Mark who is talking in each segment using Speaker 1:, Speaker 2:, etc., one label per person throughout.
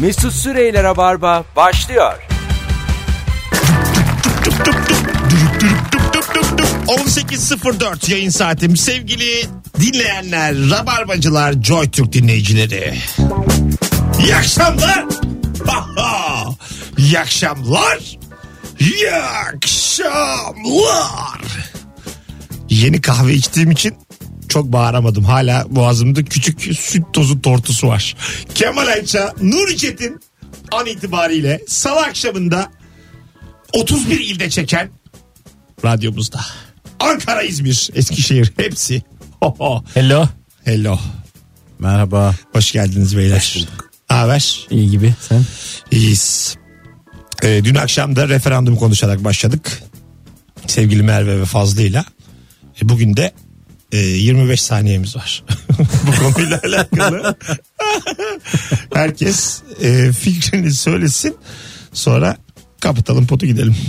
Speaker 1: Mesut Süreyle Rabarba başlıyor.
Speaker 2: 18.04 yayın saatim. Sevgili dinleyenler, Rabarbacılar, Joy Türk dinleyicileri. İyi akşamlar. Ha ha. İyi akşamlar. İyi akşamlar. Yeni kahve içtiğim için çok bağıramadım. Hala boğazımda küçük süt tozu tortusu var. Kemal Ayça, Nuri Çetin an itibariyle salı akşamında 31 ilde çeken radyomuzda. Ankara, İzmir, Eskişehir hepsi. Ho, ho.
Speaker 3: Hello.
Speaker 2: Hello.
Speaker 3: Merhaba.
Speaker 2: Hoş geldiniz beyler.
Speaker 3: Hoş bulduk.
Speaker 2: Ne Haber?
Speaker 3: İyi gibi sen.
Speaker 2: İyiyiz. Ee, dün akşam da referandum konuşarak başladık. Sevgili Merve ve Fazlı'yla. E, bugün de e, 25 saniyemiz var. Bu konuyla alakalı. Herkes e, fikrini söylesin. Sonra kapatalım potu gidelim.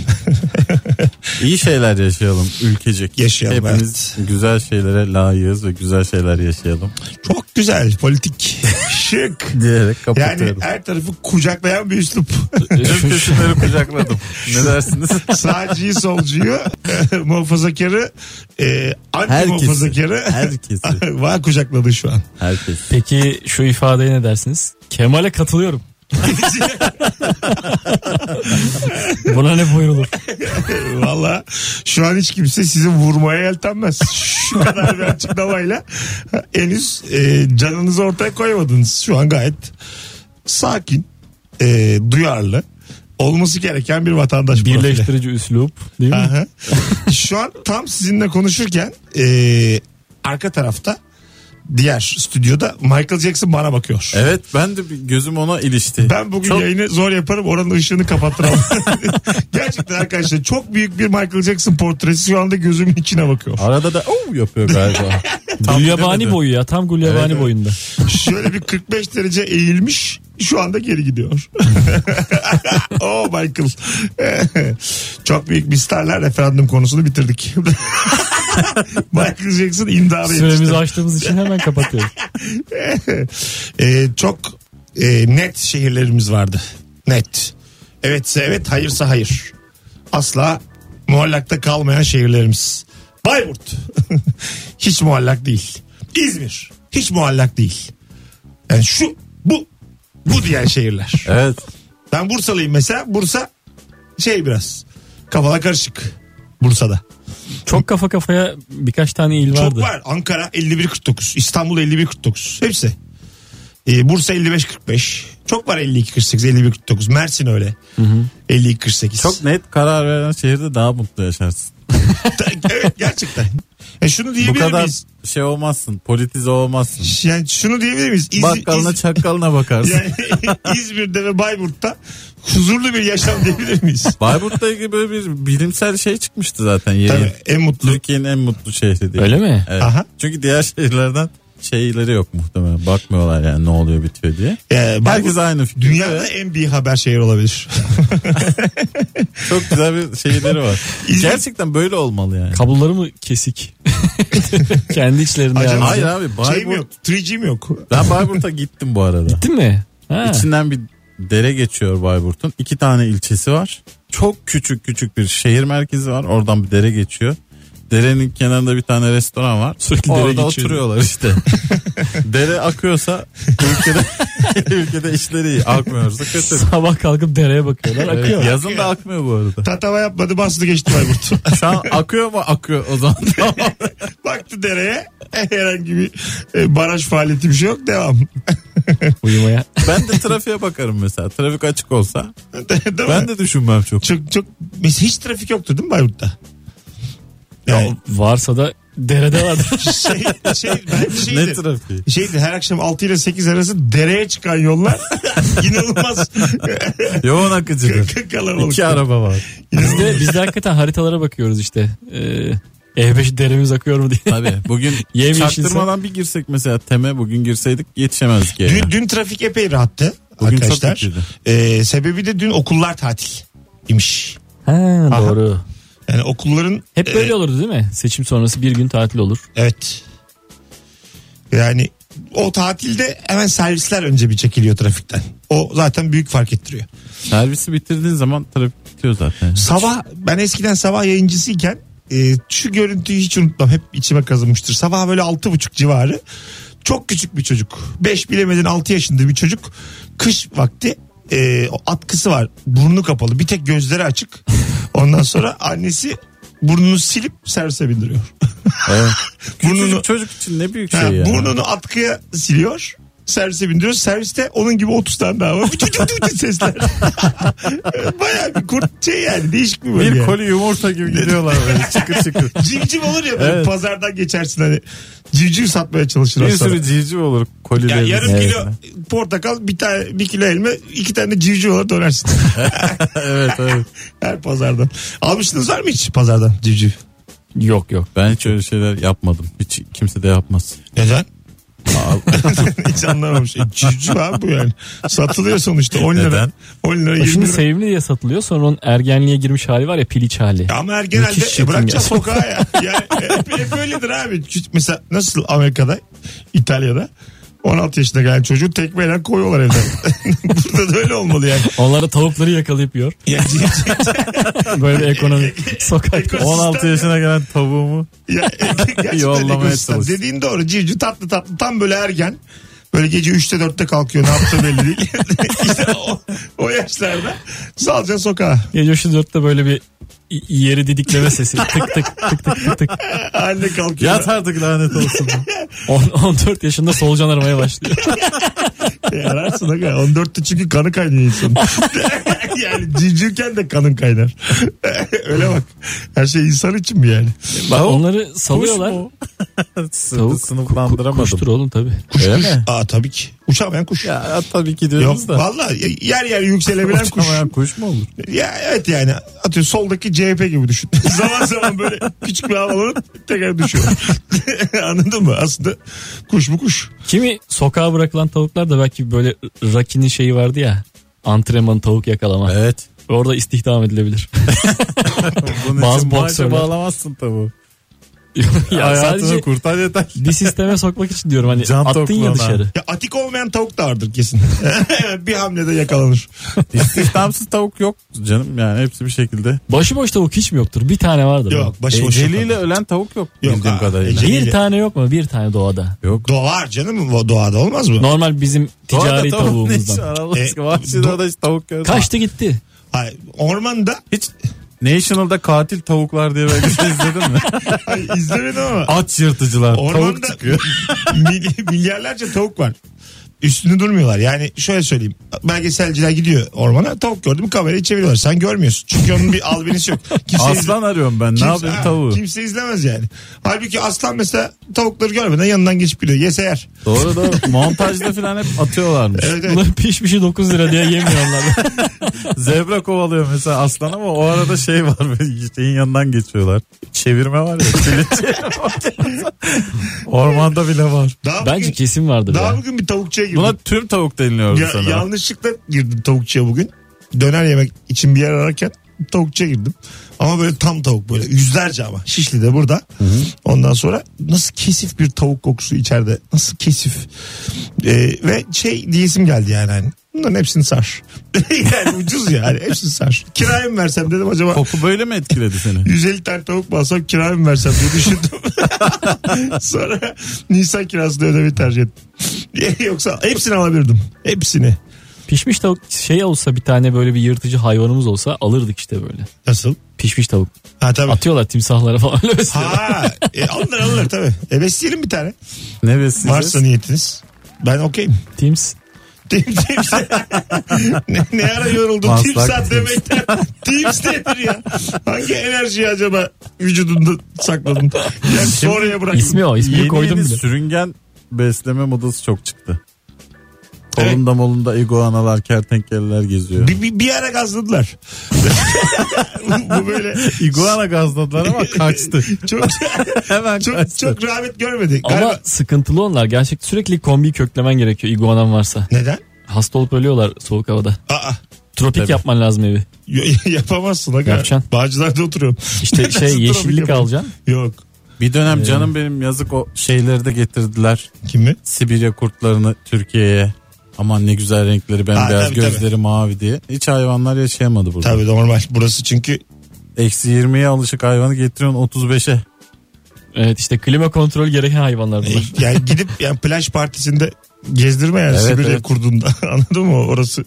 Speaker 3: İyi şeyler yaşayalım ülkecek.
Speaker 2: Yaşayalım,
Speaker 3: Hepimiz güzel şeylere layığız ve güzel şeyler yaşayalım.
Speaker 2: Çok güzel politik şık.
Speaker 3: Diyerek
Speaker 2: Yani
Speaker 3: kapatıyorum.
Speaker 2: her tarafı kucaklayan bir üslup.
Speaker 3: Tüm kesimleri kucakladım. Ne dersiniz?
Speaker 2: Sağcıyı, solcuyu, muhafazakarı, e, anti
Speaker 3: Herkesi.
Speaker 2: muhafazakarı.
Speaker 3: Herkesi.
Speaker 2: Var kucakladı şu an.
Speaker 3: Herkes.
Speaker 4: Peki şu ifadeye ne dersiniz? Kemal'e katılıyorum. Buna ne buyrulur?
Speaker 2: Valla şu an hiç kimse sizi vurmaya yeltenmez. Şu kadar bir açıklamayla henüz e, canınızı ortaya koymadınız. Şu an gayet sakin, e, duyarlı, olması gereken bir vatandaş profili.
Speaker 4: Birleştirici üslup değil mi?
Speaker 2: Aha. Şu an tam sizinle konuşurken e, arka tarafta diğer stüdyoda Michael Jackson bana bakıyor.
Speaker 3: Evet ben de bir gözüm ona ilişti.
Speaker 2: Ben bugün
Speaker 3: Çok
Speaker 2: yayını zor yaparım oranın ışığını kapattıramam. Gerçekten arkadaşlar çok büyük bir Michael Jackson portresi şu anda gözümün içine bakıyor.
Speaker 3: arada da oh yapıyor galiba. Tam
Speaker 4: Gulyabani
Speaker 3: bilemedim.
Speaker 4: boyu ya tam Gulyabani
Speaker 3: Evet, evet.
Speaker 4: boyunda.
Speaker 2: Şöyle bir 45 derece eğilmiş şu anda geri gidiyor. oh Michael. çok büyük bir starlar referandum konusunu bitirdik. Michael Jackson imdada yetişti.
Speaker 4: Süremizi açtığımız için hemen kapatıyoruz.
Speaker 2: Ee, çok e, net şehirlerimiz vardı. Net. Evetse evet, hayırsa hayır. Asla muallakta kalmayan şehirlerimiz. Bayburt. hiç muallak değil. İzmir. Hiç muallak değil. Yani şu, bu, bu diyen şehirler.
Speaker 3: Evet.
Speaker 2: Ben Bursalıyım mesela. Bursa şey biraz. Kafalar karışık. Bursa'da.
Speaker 4: Çok kafa kafaya birkaç tane il vardı.
Speaker 2: Çok var. Ankara 51-49. İstanbul 51-49. Hepsi. Ee, Bursa 55-45. Çok var 52-48, 51-49. Mersin öyle. 52-48.
Speaker 3: Çok net karar veren şehirde daha mutlu yaşarsın.
Speaker 2: evet gerçekten. E şunu
Speaker 3: Bu
Speaker 2: diyebilir
Speaker 3: kadar
Speaker 2: miyiz?
Speaker 3: şey olmazsın. Politize olmazsın.
Speaker 2: Yani şunu diyebilir miyiz? İz-
Speaker 3: Bakkalına
Speaker 2: İz-
Speaker 3: çakkalına bakarsın.
Speaker 2: yani İzmir'de ve Bayburt'ta huzurlu bir yaşam diyebilir miyiz?
Speaker 3: Bayburt'la ilgili böyle bir bilimsel şey çıkmıştı zaten yayın.
Speaker 2: Tabii en mutlu.
Speaker 3: Türkiye'nin en mutlu şehri diye.
Speaker 4: Öyle mi?
Speaker 3: Evet.
Speaker 2: Aha.
Speaker 3: Çünkü diğer şehirlerden şeyleri yok muhtemelen. Bakmıyorlar yani ne oluyor bitiyor diye.
Speaker 2: Ee,
Speaker 3: Herkes
Speaker 2: Bayburt
Speaker 3: aynı fikirde.
Speaker 2: dünyada
Speaker 3: ve
Speaker 2: en bir haber şehir olabilir.
Speaker 3: Çok güzel bir şeyleri var.
Speaker 2: İzmir-
Speaker 3: Gerçekten böyle olmalı yani.
Speaker 4: Kabloları mı kesik? Kendi içlerinde
Speaker 2: Acaba-
Speaker 4: yani.
Speaker 3: Hayır abi
Speaker 2: Şeyim
Speaker 3: Bayburt.
Speaker 2: yok. 3G'm yok.
Speaker 3: Ben Bayburt'a gittim bu arada.
Speaker 4: Değil mi? Ha.
Speaker 3: İçinden bir dere geçiyor Bayburt'un. İki tane ilçesi var. Çok küçük küçük bir şehir merkezi var. Oradan bir dere geçiyor. Derenin kenarında bir tane restoran var.
Speaker 4: Sürekli dere
Speaker 3: Orada
Speaker 4: geçiyor.
Speaker 3: oturuyorlar işte. dere akıyorsa ülkede ülkede işleri iyi. Akmıyorsa kötü.
Speaker 4: Sabah kalkıp dereye bakıyorlar akıyor.
Speaker 3: Evet, yazın da akmıyor bu arada.
Speaker 2: Tatava yapmadı bastı geçti Bayburt.
Speaker 3: Şu an akıyor mu? Akıyor o zaman. Tamam.
Speaker 2: Baktı dereye herhangi bir e, baraj faaliyeti bir şey yok devam.
Speaker 4: Uyumaya.
Speaker 3: ben de trafiğe bakarım mesela. Trafik açık olsa.
Speaker 2: Değil mi?
Speaker 3: Ben de düşünmem çok.
Speaker 2: Çok çok biz hiç trafik yoktur değil mi Bayburt'ta?
Speaker 4: Ya
Speaker 2: Yani
Speaker 4: varsa da derede vardır.
Speaker 2: şey, şey, ben
Speaker 3: Ne
Speaker 2: şeydir.
Speaker 3: trafiği?
Speaker 2: Şeydi her akşam 6 ile 8 arası dereye çıkan yollar inanılmaz e,
Speaker 3: Yoğun akıcıdır.
Speaker 2: kalabalık.
Speaker 3: İki araba var.
Speaker 4: Biz de, biz de hakikaten haritalara bakıyoruz işte. Ee, E5 deremiz akıyor mu diye.
Speaker 3: Tabii. Bugün
Speaker 4: Yemyeşilse-
Speaker 3: çaktırmadan bir girsek mesela teme bugün girseydik yetişemezdik yani.
Speaker 2: Dün, dün trafik epey rahattı
Speaker 3: Bugün çok
Speaker 2: arkadaşlar.
Speaker 3: kötüydü.
Speaker 2: Ee, sebebi de dün okullar tatil imiş.
Speaker 4: Ha,
Speaker 2: Aha.
Speaker 4: doğru.
Speaker 2: Yani okulların
Speaker 4: Hep
Speaker 2: e,
Speaker 4: böyle olurdu değil mi? Seçim sonrası bir gün tatil olur.
Speaker 2: Evet. Yani o tatilde hemen servisler önce bir çekiliyor trafikten. O zaten büyük fark ettiriyor.
Speaker 3: Servisi bitirdiğin zaman trafik bitiyor zaten.
Speaker 2: Sabah ben eskiden sabah yayıncısıyken e, şu görüntüyü hiç unutmam. Hep içime kazınmıştır. Sabah böyle altı buçuk civarı çok küçük bir çocuk. Beş bilemedin altı yaşında bir çocuk. Kış vakti e, o atkısı var. Burnu kapalı. Bir tek gözleri açık. Ondan sonra annesi burnunu silip servise bindiriyor.
Speaker 3: Evet.
Speaker 2: Burnunu-
Speaker 3: Burnunu... Çocuk için ne büyük şey
Speaker 2: Ha,
Speaker 3: ya.
Speaker 2: Burnunu atkıya siliyor. Servise bindiriyor. Serviste onun gibi 30 tane daha var. Bütün bütün bütün sesler. Bayağı bir kurt şey yani. Değişik bir bölge.
Speaker 3: Bir
Speaker 2: yani.
Speaker 3: koli yumurta gibi gidiyorlar böyle çıkır çıkır.
Speaker 2: Civciv olur ya böyle
Speaker 3: Evet.
Speaker 2: pazardan geçersin hani. Civciv satmaya çalışırlar
Speaker 3: Bir
Speaker 2: sana.
Speaker 3: sürü civciv olur
Speaker 2: Ya
Speaker 3: kolilerin.
Speaker 2: yarım
Speaker 3: içerisinde.
Speaker 2: kilo portakal, bir tane bir kilo elma, iki tane de civciv olarak dönersin.
Speaker 3: evet evet.
Speaker 2: Her pazardan. Almışsınız var mı hiç pazardan civciv?
Speaker 4: Yok yok.
Speaker 3: Ben hiç öyle şeyler yapmadım. Hiç kimse de yapmaz.
Speaker 2: Neden? hiç anlamamış. E, civciv abi bu yani. Satılıyor sonuçta 10 lira.
Speaker 3: Neden?
Speaker 2: 10 lira
Speaker 4: O
Speaker 2: 20
Speaker 4: E, Şimdi
Speaker 2: lira.
Speaker 4: sevimli diye satılıyor sonra onun ergenliğe girmiş hali var ya piliç hali.
Speaker 2: Ya Ama her genelde
Speaker 4: Müthiş
Speaker 2: e, bırakacak
Speaker 4: çekim ya.
Speaker 2: sokağa ya. Yani e, hep, hep öyledir abi. Çünkü Mesela nasıl Amerika'da, İtalya'da 16 yaşında gelen çocuğu tekmeyle koyuyorlar evden. Burada da öyle olmalı yani.
Speaker 4: Onlara tavukları yakalayıp yiyor.
Speaker 2: Ya, c- c-
Speaker 4: Böyle bir ekonomi sokakta.
Speaker 2: Ekosistem.
Speaker 3: 16 yaşına gelen tavuğumu
Speaker 2: ya, e, gerçekten
Speaker 3: Yollamaya
Speaker 2: ekosistem.
Speaker 3: çalış.
Speaker 2: Dediğin doğru. Civciv tatlı tatlı tam böyle ergen. Böyle gece 3'te 4'te kalkıyor ne yaptığı belli değil. işte o, o yaşlarda salca sokağa.
Speaker 4: Gece şu dörtte böyle bir y- yeri didikleme sesi. Tık tık tık tık tık tık.
Speaker 2: Anne kalkıyor.
Speaker 3: yat artık lanet olsun.
Speaker 4: On- 14 yaşında solucan aramaya başlıyor.
Speaker 2: Yararsın aga. 14'te çünkü kanı kaynıyor insanın. yani civcivken de kanın kaynar. Öyle bak. Her şey insan için mi yani?
Speaker 4: Bak onları salıyorlar.
Speaker 3: mu? Tavuk,
Speaker 4: Tavuk
Speaker 3: sınıflandıramadım.
Speaker 4: Kuştur oğlum tabii.
Speaker 3: Öyle mi?
Speaker 2: Aa tabii ki. Uçamayan kuş.
Speaker 3: Ya tabii ki
Speaker 2: Yok
Speaker 3: diyoruz da.
Speaker 2: valla yer yer yükselebilen kuş.
Speaker 3: Uçamayan kuş mu olur?
Speaker 2: Ya evet yani atıyor soldaki CHP gibi düşün. zaman zaman böyle küçük bir havalanıp tekrar düşüyor. Anladın mı? Aslında kuş bu kuş.
Speaker 4: Kimi sokağa bırakılan tavuklar da belki böyle Raki'nin şeyi vardı ya. Antrenman tavuk yakalama.
Speaker 3: Evet.
Speaker 4: Orada istihdam edilebilir.
Speaker 3: Bunun
Speaker 4: Bazı
Speaker 3: için maaşa
Speaker 4: boksörler.
Speaker 3: bağlamazsın tavuğu.
Speaker 4: ya
Speaker 3: Hayatını
Speaker 4: sadece
Speaker 3: kurtar yeter.
Speaker 4: bir sisteme sokmak için diyorum hani
Speaker 3: Can
Speaker 4: attın ya
Speaker 3: tokluğuna.
Speaker 4: dışarı.
Speaker 2: Ya atik olmayan tavuk da vardır kesin. bir hamlede yakalanır.
Speaker 3: İstihdamsız tavuk yok canım yani hepsi bir şekilde.
Speaker 4: Başıboş tavuk hiç mi yoktur? Bir tane vardır. Ee,
Speaker 2: Yok başıboş.
Speaker 3: Eceliyle ölen tavuk yok,
Speaker 2: Yok,
Speaker 3: bildiğim
Speaker 2: aa,
Speaker 3: kadarıyla.
Speaker 2: eceli-
Speaker 4: Bir tane yok mu? Bir tane doğada.
Speaker 3: Yok.
Speaker 2: Doğar canım doğada olmaz mı?
Speaker 4: Normal bizim ticari
Speaker 3: Doğada tavuğun ne işi
Speaker 4: tavuğumuzdan.
Speaker 3: var Allah aşkına?
Speaker 2: E,
Speaker 3: Vahşi
Speaker 2: do-
Speaker 3: doğada hiç tavuk yok.
Speaker 4: Kaçtı gitti.
Speaker 2: Hayır, ormanda
Speaker 3: Hiç National'da katil tavuklar diye belgesel izledin mi?
Speaker 2: Ay, izlemedim ama
Speaker 3: Aç yırtıcılar. Tavuk
Speaker 2: Ormanda-
Speaker 3: çıkıyor.
Speaker 2: mily- milyarlarca tavuk var. Üstünde durmuyorlar. Yani şöyle söyleyeyim. Belgeselciler gidiyor ormana. Tavuk gördüm kamerayı çeviriyorlar. Sen görmüyorsun. Çünkü onun bir albinisi yok. Kimse izle-
Speaker 3: Aslan arıyorum ben. Ne
Speaker 2: Şey kimse-
Speaker 3: yapayım
Speaker 2: ha,
Speaker 3: tavuğu?
Speaker 2: Kimse izlemez yani. Halbuki aslan mesela tavukları görmeden yanından geçip gidiyor. Yese yer.
Speaker 3: Doğru doğru. Montajda falan hep atıyorlarmış.
Speaker 2: Evet, evet.
Speaker 4: Bunların pişmişi 9 lira diye yemiyorlar.
Speaker 3: Zebra kovalıyor mesela aslan ama o arada şey var. böyle Şeyin yanından geçiyorlar. Çevirme var ya. kilit çevirme var. Ormanda bile var.
Speaker 2: Daha
Speaker 4: Bence
Speaker 2: bugün,
Speaker 4: kesin vardır
Speaker 2: daha
Speaker 4: ya.
Speaker 2: bugün bir tavukçuya girdim.
Speaker 3: Buna tüm tavuk deniliyor
Speaker 2: Ya-
Speaker 3: sana.
Speaker 2: yanlışlıkla girdim tavukçuya bugün. Döner yemek için bir yer ararken tavukçuya girdim. Ama böyle tam tavuk böyle yüzlerce ama Şişli'de burada. Ondan sonra nasıl kesif bir tavuk kokusu içeride. Nasıl kesif. Ee, ve şey diyesim geldi yani. hani. Bunların hepsini sar. yani ucuz yani hepsini sar. Kiraya mı versem dedim acaba
Speaker 3: Koku böyle mi etkiledi seni?
Speaker 2: 150 tane tavuk mu alsam kiraya mı versem diye düşündüm. Sonra Nisan kirasını ödemeyi tercih ettim. Yoksa hepsini alabilirdim. Hepsini.
Speaker 4: Pişmiş tavuk şey olsa bir tane böyle bir yırtıcı hayvanımız olsa alırdık işte böyle.
Speaker 2: Nasıl?
Speaker 4: Pişmiş tavuk.
Speaker 2: Ha tabii.
Speaker 4: Atıyorlar timsahlara falan öyle şey. besliyorlar.
Speaker 2: Ha, e, alınır alınır tabii. E besleyelim bir tane.
Speaker 3: Ne besleyeceğiz?
Speaker 2: Varsa niyetiniz. Ben okeyim.
Speaker 4: Tims.
Speaker 2: Teams, teams. ne, ne ara yoruldum
Speaker 3: Maslak
Speaker 2: timsah
Speaker 3: teams.
Speaker 2: demekten. Teams nedir ya? Hangi enerjiyi acaba vücudunda sakladın? Yani sonraya bırak.
Speaker 4: İsmi o. İsmini
Speaker 3: Yeni
Speaker 4: koydum
Speaker 3: yeni
Speaker 4: bile.
Speaker 3: sürüngen besleme modası çok çıktı.
Speaker 2: Evet.
Speaker 3: Kolunda molunda iguanalar, kertenkeleler geziyor.
Speaker 2: Bir, bir, bir ara gazladılar. Bu böyle
Speaker 3: İguana gazladılar ama kaçtı.
Speaker 2: çok
Speaker 3: Hemen
Speaker 2: çok,
Speaker 3: kaçtı.
Speaker 2: çok rağbet görmedi.
Speaker 4: Ama
Speaker 2: Galiba...
Speaker 4: sıkıntılı onlar. Gerçekten sürekli kombiyi köklemen gerekiyor iguanan varsa.
Speaker 2: Neden?
Speaker 4: Hasta olup ölüyorlar soğuk havada.
Speaker 2: Aa,
Speaker 4: Tropik
Speaker 3: Tabii.
Speaker 4: yapman lazım evi.
Speaker 2: y- yapamazsın. Aga.
Speaker 4: Yapacaksın.
Speaker 2: Bağcılar'da oturuyorum.
Speaker 4: İşte şey
Speaker 2: Nasıl tropik
Speaker 4: yeşillik
Speaker 2: yapayım?
Speaker 4: alacaksın.
Speaker 2: Yok.
Speaker 3: Bir dönem
Speaker 2: Ee,
Speaker 3: canım benim yazık o şeyleri de getirdiler.
Speaker 2: Kimi?
Speaker 3: Sibirya kurtlarını Türkiye'ye. Aman ne güzel renkleri ben
Speaker 2: Ha,
Speaker 3: beyaz
Speaker 2: tabii,
Speaker 3: gözleri mavi diye. Hiç hayvanlar yaşayamadı burada.
Speaker 2: Tabii normal. Burası çünkü
Speaker 3: Eksi 20'ye alışık hayvanı getiriyorsun 35'e.
Speaker 4: Evet işte klima kontrolü gereken hayvanlar
Speaker 2: e,
Speaker 4: bunlar.
Speaker 2: yani gidip yani plaj partisinde gezdirme yani
Speaker 3: Evet,
Speaker 2: Sibirya
Speaker 3: evet.
Speaker 2: kurdunda. Anladın mı? Orası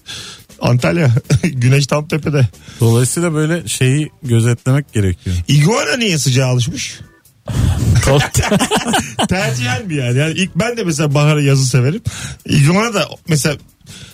Speaker 2: Antalya. Güneş tam tepede.
Speaker 3: Dolayısıyla böyle şeyi gözetlemek gerekiyor.
Speaker 2: İguana niye sıcağa alışmış?
Speaker 4: Kal-
Speaker 2: Tercihen mi yani? yani? ilk ben de mesela baharı yazı severim. İguana da mesela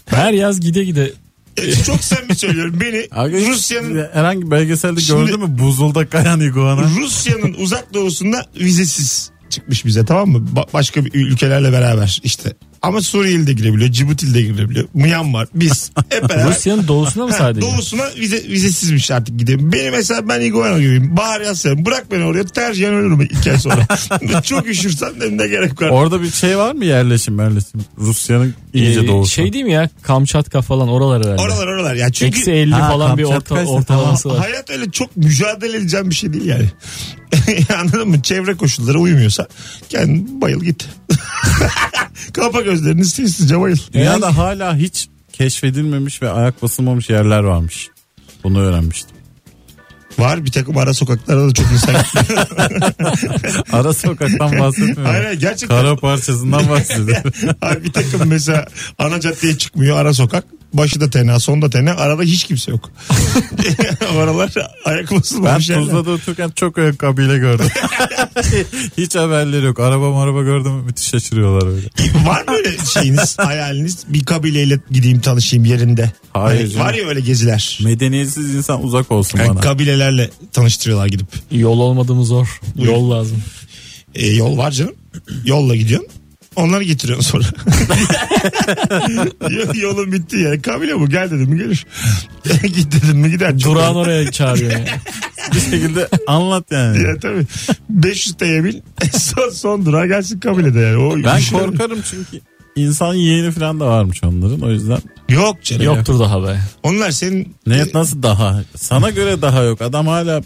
Speaker 4: Her yaz gide gide.
Speaker 2: e, çok samimi söylüyorum beni
Speaker 3: Abi,
Speaker 2: Rusya'nın
Speaker 3: herhangi bir belgeselde
Speaker 2: Şimdi-
Speaker 3: gördün mü buzulda kayan iguana?
Speaker 2: Rusya'nın uzak doğusunda vizesiz çıkmış bize tamam mı? Ba- başka bir ülkelerle beraber işte. Ama Suriyeli de girebiliyor, Cibutil de girebiliyor. Myanmar, biz hep beraber.
Speaker 4: Rusya'nın doğusuna mı
Speaker 2: Ha,
Speaker 4: sadece?
Speaker 2: doğusuna vize, vizesizmiş artık gideyim. Benim mesela ben iguana gibiyim. Bahar yaz severim. Bırak beni oraya tercihen ölürüm iki ay sonra. Çok üşürsem de ne gerek var.
Speaker 3: Orada bir şey var mı yerleşim yerleşim? Rusya'nın iyice
Speaker 4: Ee,
Speaker 3: doğusu.
Speaker 4: Şey değil mi ya Kamçatka falan oralar herhalde.
Speaker 2: Oralar oralar. Ya çünkü
Speaker 4: Eksi 50
Speaker 3: Ha,
Speaker 4: falan bir
Speaker 3: Kamçatka
Speaker 4: orta,
Speaker 3: ise
Speaker 4: ortalaması var.
Speaker 2: Hayat öyle çok mücadele edeceğim bir şey değil yani. Anladın mı? Çevre koşulları uymuyorsa kendin bayıl git. Kapa gözlerini sil sıca bayıl.
Speaker 3: Dünyada hala hiç keşfedilmemiş ve ayak basılmamış yerler varmış. Bunu öğrenmiştim.
Speaker 2: Var bir takım ara sokaklarda da çok insan gitti.
Speaker 3: Ara sokaktan bahsetmiyorum.
Speaker 2: Aynen gerçekten.
Speaker 3: Kara parçasından bahsediyorum.
Speaker 2: Abi bir takım mesela ana caddeye çıkmıyor ara sokak. Başı da tena, son da tena. Arada hiç kimse yok. Oralar ayak
Speaker 3: ben
Speaker 2: basılmamış yerler.
Speaker 3: Tuzla'da otururken çok ayakkabıyla gördüm. hiç haberleri yok. Araba araba gördüm mü müthiş şaşırıyorlar öyle.
Speaker 2: Var mı öyle şeyiniz, hayaliniz? Bir kabileyle gideyim tanışayım yerinde.
Speaker 3: Hayır
Speaker 2: Hani
Speaker 3: canım.
Speaker 2: var ya öyle geziler.
Speaker 3: Medeniyetsiz insan uzak olsun
Speaker 2: Yani
Speaker 3: bana.
Speaker 2: kabilelerle tanıştırıyorlar gidip.
Speaker 4: Yol olmadığımız zor. Yol lazım.
Speaker 2: E, yol var canım. Yolla gidiyorsun. Onları getiriyorsun sonra. Yo- Yolun bitti yani. Kabile bu. Gel dedim mi gelir. Git dedim mi gider. Çok
Speaker 4: Durağan oraya çağırıyor. yani.
Speaker 3: bir şekilde anlat yani.
Speaker 2: Ya tabii. 500 TL'ye bin. son, son durağa gelsin kabile de yani. O
Speaker 3: ben
Speaker 2: yürüyüşe-
Speaker 3: korkarım çünkü insan yeğeni falan da varmış onların. O yüzden
Speaker 2: Yok canım. Yok.
Speaker 4: Yoktur daha be.
Speaker 2: Onlar senin...
Speaker 3: ne nasıl daha? Sana göre daha yok. Adam hala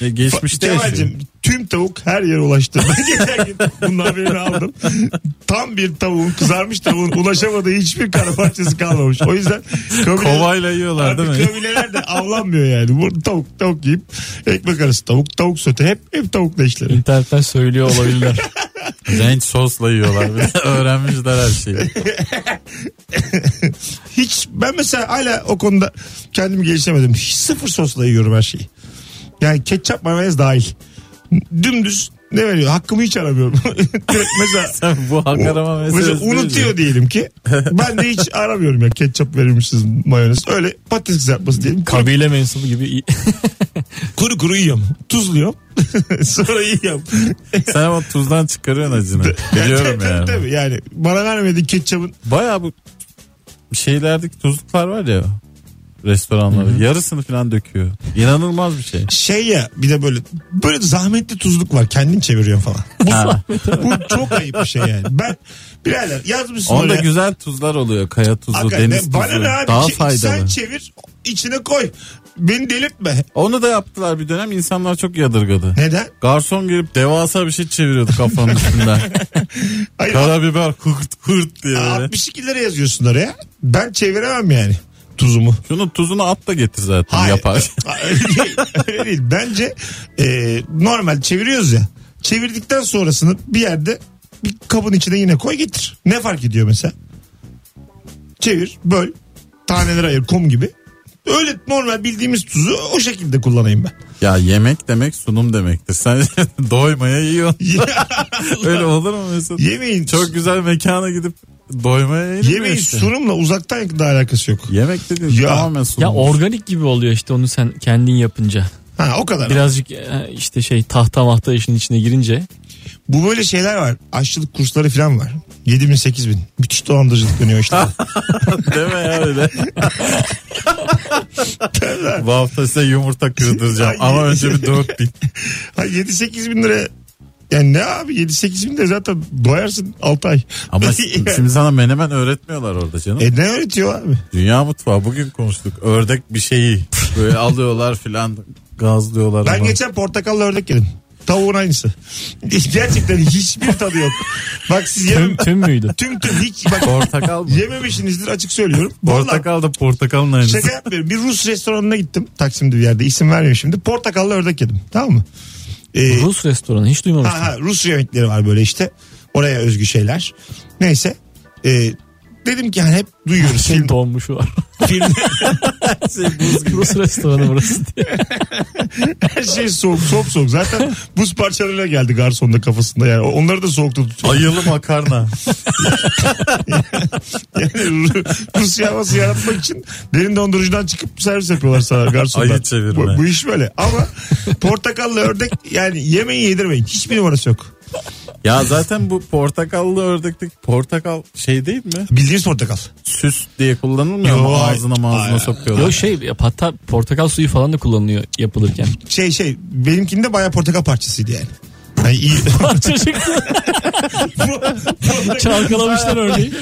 Speaker 3: e, geçmişte yaşıyor.
Speaker 2: Kemal'cim tüm tavuk her yere ulaştı. Ben geçen gün bunun haberini aldım. Tam bir tavuğun kızarmış tavuğun ulaşamadığı hiçbir kara parçası kalmamış. O yüzden kabile-
Speaker 3: Kovayla yiyorlar değil
Speaker 2: Artık
Speaker 3: mi?
Speaker 2: köylüler de avlanmıyor yani. Burada tavuk tavuk yiyip ekmek arası tavuk tavuk sote hep hep tavukla işleri.
Speaker 4: İnternetten söylüyor olabilirler.
Speaker 3: Renk sosla yiyorlar. Bir de Öğrenmişler her şeyi.
Speaker 2: Hiç ben mesela hala o konuda kendimi geliştiremedim. Hiç sıfır sosla yiyorum her şeyi. Yani ketçap mayonez dahil. Dümdüz ne veriyor? Hakkımı hiç aramıyorum. Direkt mesela
Speaker 3: Sen bu hak arama
Speaker 2: mesela
Speaker 3: meselesi.
Speaker 2: unutuyor diyelim ki. Ben de hiç aramıyorum ya ketçap verilmişsiniz mayonez. Öyle patates kızartması diyelim. Kuru,
Speaker 4: Kabile mensubu gibi.
Speaker 2: kuru kuru yiyorum. Tuzluyorum. Sonra yiyorum.
Speaker 3: Sen ama tuzdan çıkarıyorsun acını. Biliyorum
Speaker 2: tabii, Tabii,
Speaker 3: yani.
Speaker 2: tabii. yani. Bana vermediğin ketçabın
Speaker 3: Baya bu şeylerdeki tuzluklar var ya restoranların yarısını falan döküyor. İnanılmaz bir şey.
Speaker 2: şey ya bir de böyle böyle zahmetli tuzluk var kendin çeviriyorsun falan.
Speaker 3: Ha.
Speaker 2: Bu çok ayıp bir şey yani. Ben birader yazmışsın
Speaker 3: Onda
Speaker 2: oraya.
Speaker 3: güzel tuzlar oluyor. Kaya tuzu,
Speaker 2: Hakikaten
Speaker 3: deniz tuzu.
Speaker 2: bana ne abi
Speaker 3: daha
Speaker 2: Çe- sen
Speaker 3: faydalı.
Speaker 2: çevir içine koy. Beni delirtme.
Speaker 3: Onu da yaptılar bir dönem insanlar çok yadırgadı.
Speaker 2: Neden?
Speaker 3: Garson gelip devasa bir şey çeviriyordu kafanın üstünden.
Speaker 2: Hayır,
Speaker 3: Karabiber hırt hırt diye böyle.
Speaker 2: 62 lira yazıyorsun oraya. Ben çeviremem yani tuzumu.
Speaker 3: Şunun tuzunu at da getir zaten yapar.
Speaker 2: öyle, değil, öyle değil. Bence e, normal çeviriyoruz ya. Çevirdikten sonrasını bir yerde bir kabın içine yine koy getir. Ne fark ediyor mesela? Çevir, böl, taneler ayır kum gibi. Öyle normal bildiğimiz tuzu o şekilde kullanayım ben.
Speaker 3: Ya yemek demek sunum demektir. Sen doymaya yiyorsun.
Speaker 2: Ya,
Speaker 3: Öyle olur mu Mesut?
Speaker 2: yemeğin
Speaker 3: Çok güzel mekana gidip doymaya yiyin.
Speaker 2: yemeğin sunumla uzaktan yakında alakası yok.
Speaker 3: Yemek dedin
Speaker 2: Ya.
Speaker 3: tamamen sunum.
Speaker 4: ya organik gibi oluyor işte onu sen kendin yapınca.
Speaker 2: Ha o kadar.
Speaker 4: Birazcık e, işte şey tahta mahta işin içine girince.
Speaker 2: Bu böyle şeyler var. Aşçılık kursları falan var. 7 bin 8 bin. Müthiş dolandırıcılık dönüyor işte.
Speaker 3: Deme ya öyle. Bu hafta size yumurta kırdıracağım
Speaker 2: Ay.
Speaker 3: ama önce bir dört bin.
Speaker 2: Ha 7-8 bin lira. Yani ne abi 7-8 bin lira zaten doyarsın 6 ay.
Speaker 3: Ama şimdi sana menemen öğretmiyorlar orada canım.
Speaker 2: E ne öğretiyor abi?
Speaker 3: Dünya mutfağı bugün konuştuk. Ördek bir şeyi böyle alıyorlar filan gazlıyorlar.
Speaker 2: Ben
Speaker 3: ama.
Speaker 2: geçen portakalla ördek yedim. Tavuğun aynısı. Gerçekten hiçbir tadı yok. Bak siz yemem...
Speaker 4: Tüm, tüm müydü?
Speaker 2: tüm tüm hiç bak
Speaker 3: Portakal mı?
Speaker 2: yememişsinizdir açık söylüyorum. Vallahi
Speaker 3: Portakal da portakalın aynısı.
Speaker 2: Şaka yapmıyorum. Bir Rus restoranına gittim. Taksim'de bir yerde. İsim vermiyorum şimdi. Portakallı ördek yedim. Tamam mı? Ee,
Speaker 4: Rus restoranı hiç duymamıştım.
Speaker 2: Ha, ha, Rus yemekleri var böyle işte. Oraya özgü şeyler. Neyse. Ee, dedim ki hani hep duyuyoruz.
Speaker 4: Şey
Speaker 2: film,
Speaker 4: donmuşu var.
Speaker 2: film,
Speaker 4: Rus restoranı burası diye.
Speaker 2: her şey soğuk soğuk soğuk. Zaten buz parçalarıyla geldi garson da kafasında yani. Onları da soğukta tutuyor.
Speaker 3: Ayılı makarna.
Speaker 2: Yani Ru- Rus havası yaratmak için derin dondurucudan çıkıp servis yapıyorlar sana garsonlar.
Speaker 3: Ayı çevirme.
Speaker 2: Bu, bu iş böyle ama portakallı ördek yani yemeği yedirmeyin. Hiçbir numarası yok.
Speaker 3: ya zaten bu portakallı ördekteki portakal şey değil mi?
Speaker 2: Bildiğiniz portakal.
Speaker 3: Süs diye kullanılmıyor
Speaker 2: Yo,
Speaker 3: mu? Ağzına mağzına
Speaker 2: ay-
Speaker 3: sokuyorlar.
Speaker 4: Yok şey ya, hatta portakal suyu falan da kullanılıyor yapılırken.
Speaker 2: Şey şey benimkinde baya portakal parçasıydı yani. Yani iyi.
Speaker 4: Parça çıktı. Çalkalamışlar örneği.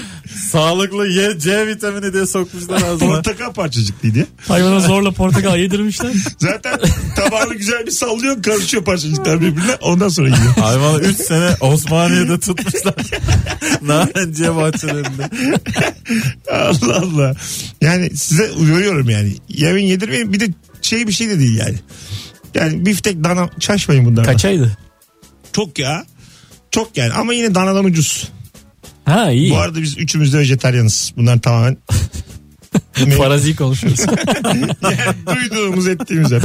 Speaker 3: Sağlıklı Y, C vitamini diye sokmuşlar ağzına.
Speaker 2: portakal parçacıklıydı. ya.
Speaker 4: Hayvana zorla portakal yedirmişler.
Speaker 2: Zaten tabağını güzel bir sallıyor karışıyor parçacıklar birbirine ondan sonra yiyor.
Speaker 3: Hayvanı 3 sene Osmaniye'de tutmuşlar. Narenciye bahçelerinde.
Speaker 2: Allah Allah. Yani size uyarıyorum yani. Yemin yedirmeyin bir de şey bir şey de değil yani. Yani biftek dana çaşmayın bunlardan.
Speaker 4: Kaçaydı?
Speaker 2: Çok ya. Çok yani ama yine danadan ucuz.
Speaker 4: Ha iyi.
Speaker 2: Bu arada biz üçümüz de vejetaryanız. Bunlar tamamen
Speaker 4: Farazi konuşuyoruz.
Speaker 2: duyduğumuz ettiğimiz hep.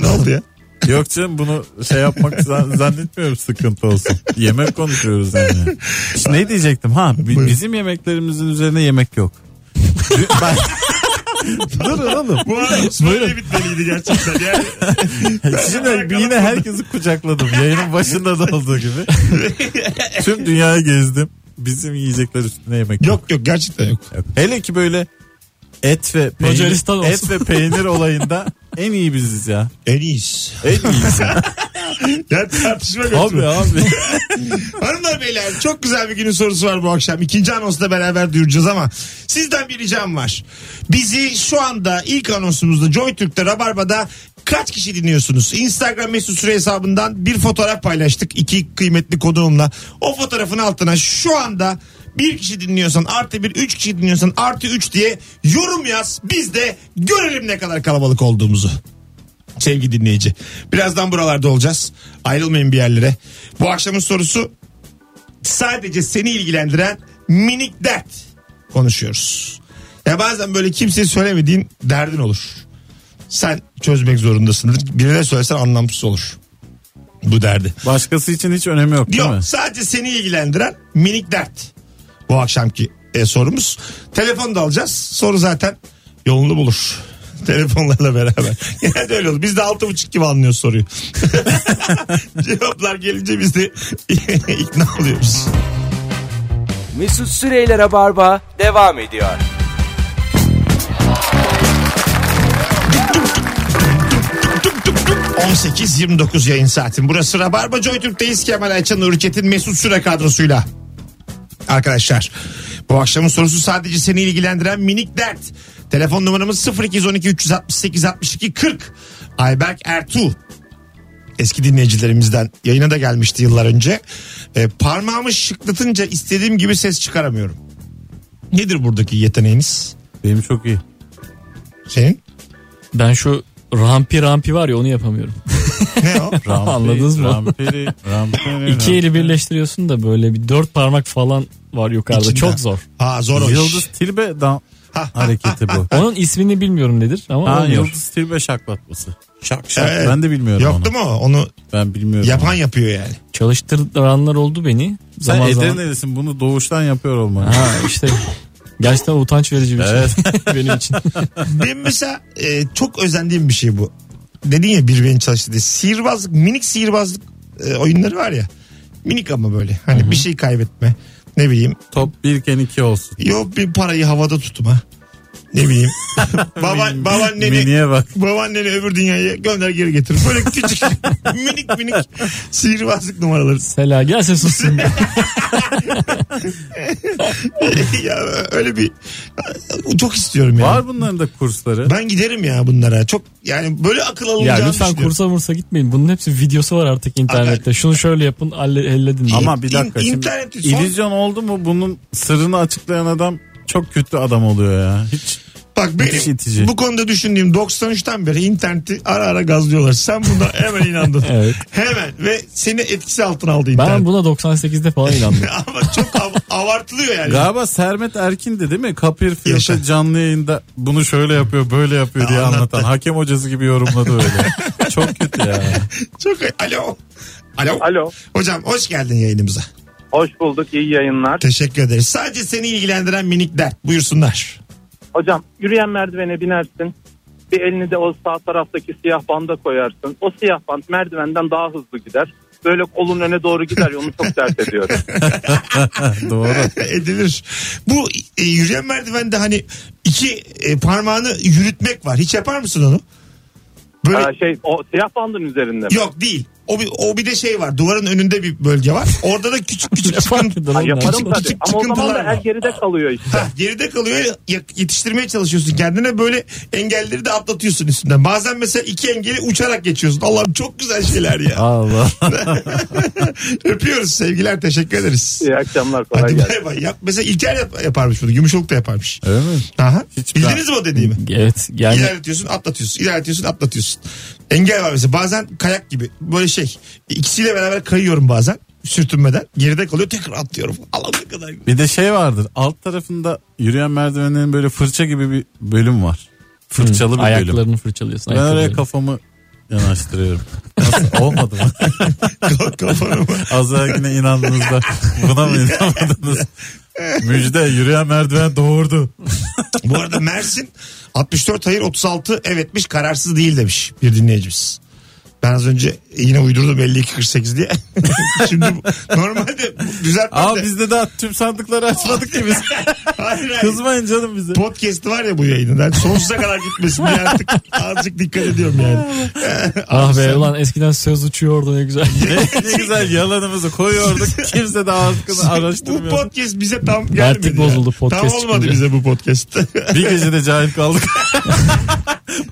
Speaker 2: ne oldu ya?
Speaker 3: Yok canım bunu şey yapmak zan- zannetmiyorum sıkıntı olsun. Yemek konuşuyoruz yani. Şimdi ne diyecektim ha bi-
Speaker 2: Buyurun.
Speaker 3: bizim yemeklerimizin üzerine yemek yok. Dü- ben... Durun oğlum.
Speaker 2: Bu arada böyle bitmeliydi gerçekten. Yani
Speaker 3: Şimdi yine herkesi kucakladım. Yayının başında da olduğu gibi. Tüm dünyayı gezdim. Bizim yiyecekler üstüne yemek yok.
Speaker 2: Yok yok gerçekten yok.
Speaker 3: Yok. Hele ki böyle et ve
Speaker 4: Macaristan
Speaker 3: peynir,
Speaker 4: olsun.
Speaker 3: et ve peynir olayında en iyi biziz ya.
Speaker 2: En iyisi.
Speaker 3: En iyiyiz.
Speaker 2: Ya tartışma
Speaker 3: abi
Speaker 2: götürme.
Speaker 3: abi.
Speaker 2: Hanımlar beyler çok güzel bir günün sorusu var bu akşam. İkinci anonsu da beraber duyuracağız ama sizden bir ricam var. Bizi şu anda ilk anonsumuzda Joy Türk'te Rabarba'da kaç kişi dinliyorsunuz? Instagram mesut süre hesabından bir fotoğraf paylaştık iki kıymetli konuğumla. O fotoğrafın altına şu anda bir kişi dinliyorsan artı bir üç kişi dinliyorsan artı üç diye yorum yaz. Biz de görelim ne kadar kalabalık olduğumuzu sevgili dinleyici. Birazdan buralarda olacağız. Ayrılmayın bir yerlere. Bu akşamın sorusu sadece seni ilgilendiren minik dert konuşuyoruz. Ya bazen böyle kimseye söylemediğin derdin olur. Sen çözmek zorundasın. Birine söylesen anlamsız olur. Bu derdi.
Speaker 3: Başkası için hiç önemi yok değil
Speaker 2: Yok
Speaker 3: mi?
Speaker 2: sadece seni ilgilendiren minik dert. Bu akşamki e, sorumuz. Telefon da alacağız. Soru zaten yolunu bulur. Telefonlarla beraber. Genelde öyle olur. Biz de altı buçuk gibi anlıyoruz soruyu. Cevaplar gelince biz de ikna oluyoruz.
Speaker 1: Mesut Süreyler'e barba devam ediyor.
Speaker 2: Tuk tuk tuk. 18-29 yayın saatin. Burası Rabarba Joytürk'teyiz. Kemal Ayça'nın Nuri Çetin Mesut Süre kadrosuyla. Arkadaşlar bu akşamın sorusu sadece seni ilgilendiren minik dert. Telefon numaramız 0212 368 62 40. Ayberk Ertuğ eski dinleyicilerimizden yayına da gelmişti yıllar önce. E, parmağımı şıklatınca istediğim gibi ses çıkaramıyorum. Nedir buradaki yeteneğiniz?
Speaker 3: Benim çok iyi.
Speaker 2: Senin?
Speaker 4: Ben şu rampi rampi var ya onu yapamıyorum.
Speaker 2: Ne o?
Speaker 3: Ramperi,
Speaker 4: Anladınız mı?
Speaker 3: Ramperi, ramperi,
Speaker 4: İki
Speaker 3: ramperi.
Speaker 4: eli birleştiriyorsun da böyle bir dört parmak falan var yukarıda.
Speaker 2: İçinde.
Speaker 4: Çok zor.
Speaker 2: Ha zor o iş.
Speaker 3: Yıldız Tilbe dan hareketi bu.
Speaker 4: Onun ismini bilmiyorum nedir ama
Speaker 3: Ha,
Speaker 4: olmuyor.
Speaker 3: Yıldız Tilbe şaklatması. Şak şak.
Speaker 2: Evet.
Speaker 3: Ben de bilmiyorum onu.
Speaker 2: Yoktu mu? Onu
Speaker 3: Ben bilmiyorum.
Speaker 2: Yapan yapıyor yani.
Speaker 4: Çalıştıranlar oldu beni.
Speaker 3: Sen
Speaker 4: Zaman zaman.
Speaker 3: Edirne'lisin bunu doğuştan yapıyor olman.
Speaker 4: Ha işte. Gerçekten utanç verici bir şey
Speaker 3: Evet.
Speaker 4: benim için.
Speaker 2: Benim mesela e, çok özendiğim bir şey bu. Dedin ya bir beni çalıştı diye. Sihirbazlık, minik sihirbazlık e, oyunları var ya. Minik ama böyle. Hani bir şey kaybetme. Ne bileyim.
Speaker 3: Top birken iki olsun.
Speaker 2: Yok bir parayı havada tutma. ne bileyim. Baba, babaanneni,
Speaker 3: Mini'ye bak.
Speaker 2: babaanneni öbür dünyaya gönder geri getir. Böyle küçük şey. minik minik sihirbazlık numaraları.
Speaker 4: Sela gelse sussun.
Speaker 2: ya öyle bir çok istiyorum ya.
Speaker 3: Var bunların da kursları.
Speaker 2: Ben giderim ya bunlara. Çok yani böyle akıl
Speaker 4: ya
Speaker 2: alınacağını
Speaker 4: lütfen
Speaker 2: düşünüyorum.
Speaker 4: kursa mursa gitmeyin. Bunun hepsi videosu var artık internette. Şunu şöyle yapın halle- halledin. diye.
Speaker 3: Ama bir
Speaker 2: İn-
Speaker 3: dakika şimdi
Speaker 2: internette son-
Speaker 3: illüzyon oldu mu bunun sırrını açıklayan adam çok kötü adam oluyor ya. Hiç
Speaker 2: Bak
Speaker 3: Müthiş
Speaker 2: benim
Speaker 3: itici.
Speaker 2: bu konuda düşündüğüm 93'ten beri interneti ara ara gazlıyorlar. Sen buna hemen inandın.
Speaker 4: Evet.
Speaker 2: Hemen ve seni etkisi altına aldı internet.
Speaker 4: ben buna 98'de falan inandım.
Speaker 2: Ama çok av- avartılıyor yani.
Speaker 3: Galiba Sermet Erkin de değil mi? Kapir
Speaker 2: Yaşa.
Speaker 3: Fiyat'a canlı yayında bunu şöyle yapıyor böyle yapıyor diye
Speaker 2: Anlattı.
Speaker 3: anlatan. Hakem hocası gibi yorumladı öyle. Çok kötü ya.
Speaker 2: Çok alo. Alo.
Speaker 5: Alo.
Speaker 2: Hocam hoş geldin yayınımıza.
Speaker 5: Hoş bulduk. iyi yayınlar.
Speaker 2: Teşekkür ederiz. Sadece seni ilgilendiren minik dert. Buyursunlar.
Speaker 5: Hocam yürüyen merdivene binersin. Bir elini de o sağ taraftaki siyah banda koyarsın. O siyah band merdivenden daha hızlı gider. Böyle kolun öne doğru gider. ya, Onu çok dert ediyorum.
Speaker 3: Doğru.
Speaker 2: Edilir. Bu e, yürüyen merdivende hani iki e, parmağını yürütmek var. Hiç yapar mısın onu? Böyle
Speaker 5: Aa, şey o siyah bandın üzerinde. mi?
Speaker 2: Yok değil. O bir, o bir de şey var. Duvarın önünde bir bölge var. Orada da küçük küçük
Speaker 4: Fark
Speaker 2: çıkıntı.
Speaker 4: eder
Speaker 5: Ha,
Speaker 4: oğlum ya.
Speaker 5: yaparım
Speaker 2: Küçük-
Speaker 5: tabii.
Speaker 2: küçük
Speaker 5: Ama o zaman da
Speaker 2: çıkıntılar
Speaker 5: her
Speaker 2: var.
Speaker 5: geride kalıyor işte.
Speaker 2: Ha, geride kalıyor. Ya- Yetiştirmeye çalışıyorsun kendine. Böyle engelleri de atlatıyorsun üstünden. Bazen mesela iki engeli uçarak geçiyorsun. Allah'ım çok güzel şeyler ya.
Speaker 3: Allah.
Speaker 2: Öpüyoruz sevgiler. Teşekkür ederiz.
Speaker 5: İyi akşamlar kolay
Speaker 2: Hadi
Speaker 5: gelsin.
Speaker 2: bay bay. Yap. Mesela İlker yap- yaparmış bunu. Gümüşoluk da yaparmış.
Speaker 3: Öyle mi?
Speaker 2: Aha.
Speaker 3: Hiç
Speaker 2: Bildiniz mi o dediğimi?
Speaker 4: Evet yani
Speaker 2: İlerletiyorsun atlatıyorsun. İlerletiyorsun atlatıyorsun. Engel var mesela bazen kayak gibi böyle şey. İkisiyle beraber kayıyorum bazen sürtünmeden. Geride kalıyor tekrar atlıyorum. Allah ne kadar. güzel.
Speaker 3: Bir de şey vardır. Alt tarafında yürüyen merdivenlerin böyle fırça gibi bir bölüm var. Fırçalı bir bölüm.
Speaker 4: ayaklarını fırçalıyorsun.
Speaker 3: Ben oraya
Speaker 4: ayaklarını.
Speaker 3: kafamı yanaştırıyorum. Nasıl? Olmadı mı?
Speaker 2: Kafanı mı?
Speaker 3: Az yine inandığınızda buna mı inanmadınız? Müjde yürüyen merdiven doğurdu.
Speaker 2: Bu arada Mersin 64 hayır 36 evetmiş kararsız değil demiş bir dinleyicimiz. Ben az önce yine uydurdum 52-48 diye. Şimdi bu- normalde bu- düzeltmem
Speaker 3: Ama
Speaker 2: de.
Speaker 3: biz de daha tüm sandıkları açmadık ki biz.
Speaker 2: Hayır, hayır.
Speaker 3: Kızmayın canım bize.
Speaker 2: Podcast var ya bu yayının. Yani sonsuza kadar gitmesin diye artık azıcık dikkat ediyorum yani.
Speaker 4: Ah be ulan eskiden söz uçuyordu ne güzel.
Speaker 3: Ne, ne güzel yalanımızı koyuyorduk. Kimse de hakkını
Speaker 2: Bu
Speaker 3: araştırmıyor.
Speaker 2: podcast bize tam gelmedi.
Speaker 4: Vertik
Speaker 2: ya.
Speaker 4: bozuldu podcast
Speaker 2: Tam olmadı
Speaker 4: çıkınca.
Speaker 2: bize bu podcast.
Speaker 3: Bir gecede cahil kaldık.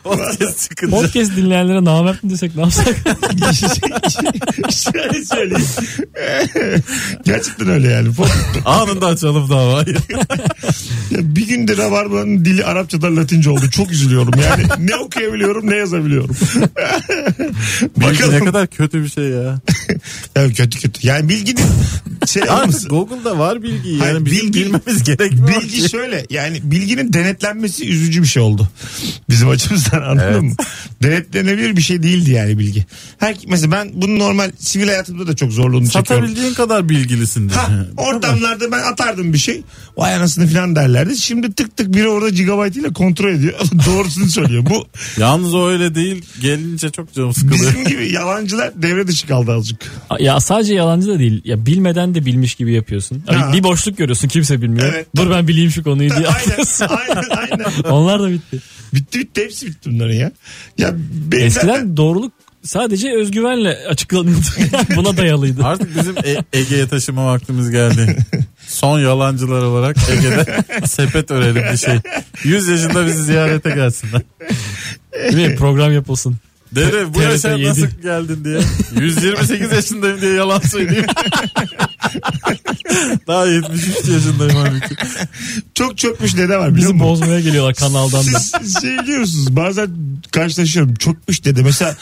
Speaker 3: Podcast çıkınca.
Speaker 4: Podcast dinleyenlere namert mi desek ne yapsak?
Speaker 2: Şöyle söyleyeyim. Gerçekten öyle yani. Pod-
Speaker 3: Anında açalım davayı.
Speaker 2: Bir günde Rabarba'nın dili Arapçadan Latince oldu. Çok üzülüyorum yani. Ne okuyabiliyorum ne yazabiliyorum.
Speaker 3: Bilgi
Speaker 2: Bakalım.
Speaker 3: ne kadar kötü bir şey ya.
Speaker 2: Ya kötü kötü. Yani bilginin şey olması-
Speaker 3: Artık Google'da var bilgi. Yani
Speaker 2: Hayır,
Speaker 3: bizim
Speaker 2: bilgi-
Speaker 3: bilmemiz gerekmiyor.
Speaker 2: Bilgi şöyle yani bilginin denetlenmesi üzücü bir şey oldu. Bizim açımızdan anladın
Speaker 3: Evet.
Speaker 2: mı? Denetlenebilir bir şey değildi yani bilgi. Her, mesela ben bunu normal sivil hayatımda da çok zorluğunu çekiyorum.
Speaker 3: Satabildiğin kadar bilgilisindir.
Speaker 2: Ha, ortamlarda ben atardım bir şey. Vay anasını falan derlerdi. Şimdi tık tık biri orada gigabyte ile kontrol ediyor. Doğrusunu söylüyor. Bu
Speaker 3: Yalnız o öyle değil. Gelince çok canım sıkılıyor.
Speaker 2: bizim gibi yalancılar devre dışı kaldı azıcık.
Speaker 4: ya sadece yalancı da değil. Ya bilmeden de bilmiş gibi yapıyorsun. Hani
Speaker 2: Ha.
Speaker 4: bir boşluk görüyorsun kimse bilmiyor.
Speaker 2: Evet.
Speaker 4: Dur ben bileyim şu konuyu diye.
Speaker 2: aynen, aynen, aynen.
Speaker 4: Onlar da bitti.
Speaker 2: Bitti bitti hepsi bitti bunların ya. Ya benim E, zaten-
Speaker 4: Eskiden doğruluk sadece özgüvenle açıklanıyordu. Buna dayalıydı.
Speaker 3: Artık bizim E- Ege'ye taşıma vaktimiz geldi. Son yalancılar olarak Ege'de sepet örelim bir şey. 100 yaşında bizi ziyarete gelsinler.
Speaker 4: Değil mi? Program yapılsın.
Speaker 3: Dere bu
Speaker 4: TRT
Speaker 3: yaşa
Speaker 4: yedi.
Speaker 3: nasıl geldin diye. 128 yaşındayım diye yalan söyleyeyim. Daha 73 yaşındayım halbuki.
Speaker 2: çok çökmüş dede var. biliyor
Speaker 4: Bizi
Speaker 2: musun?
Speaker 4: bozmaya geliyorlar kanaldan da.
Speaker 2: Siz şey biliyorsunuz bazen karşılaşıyorum çökmüş dede mesela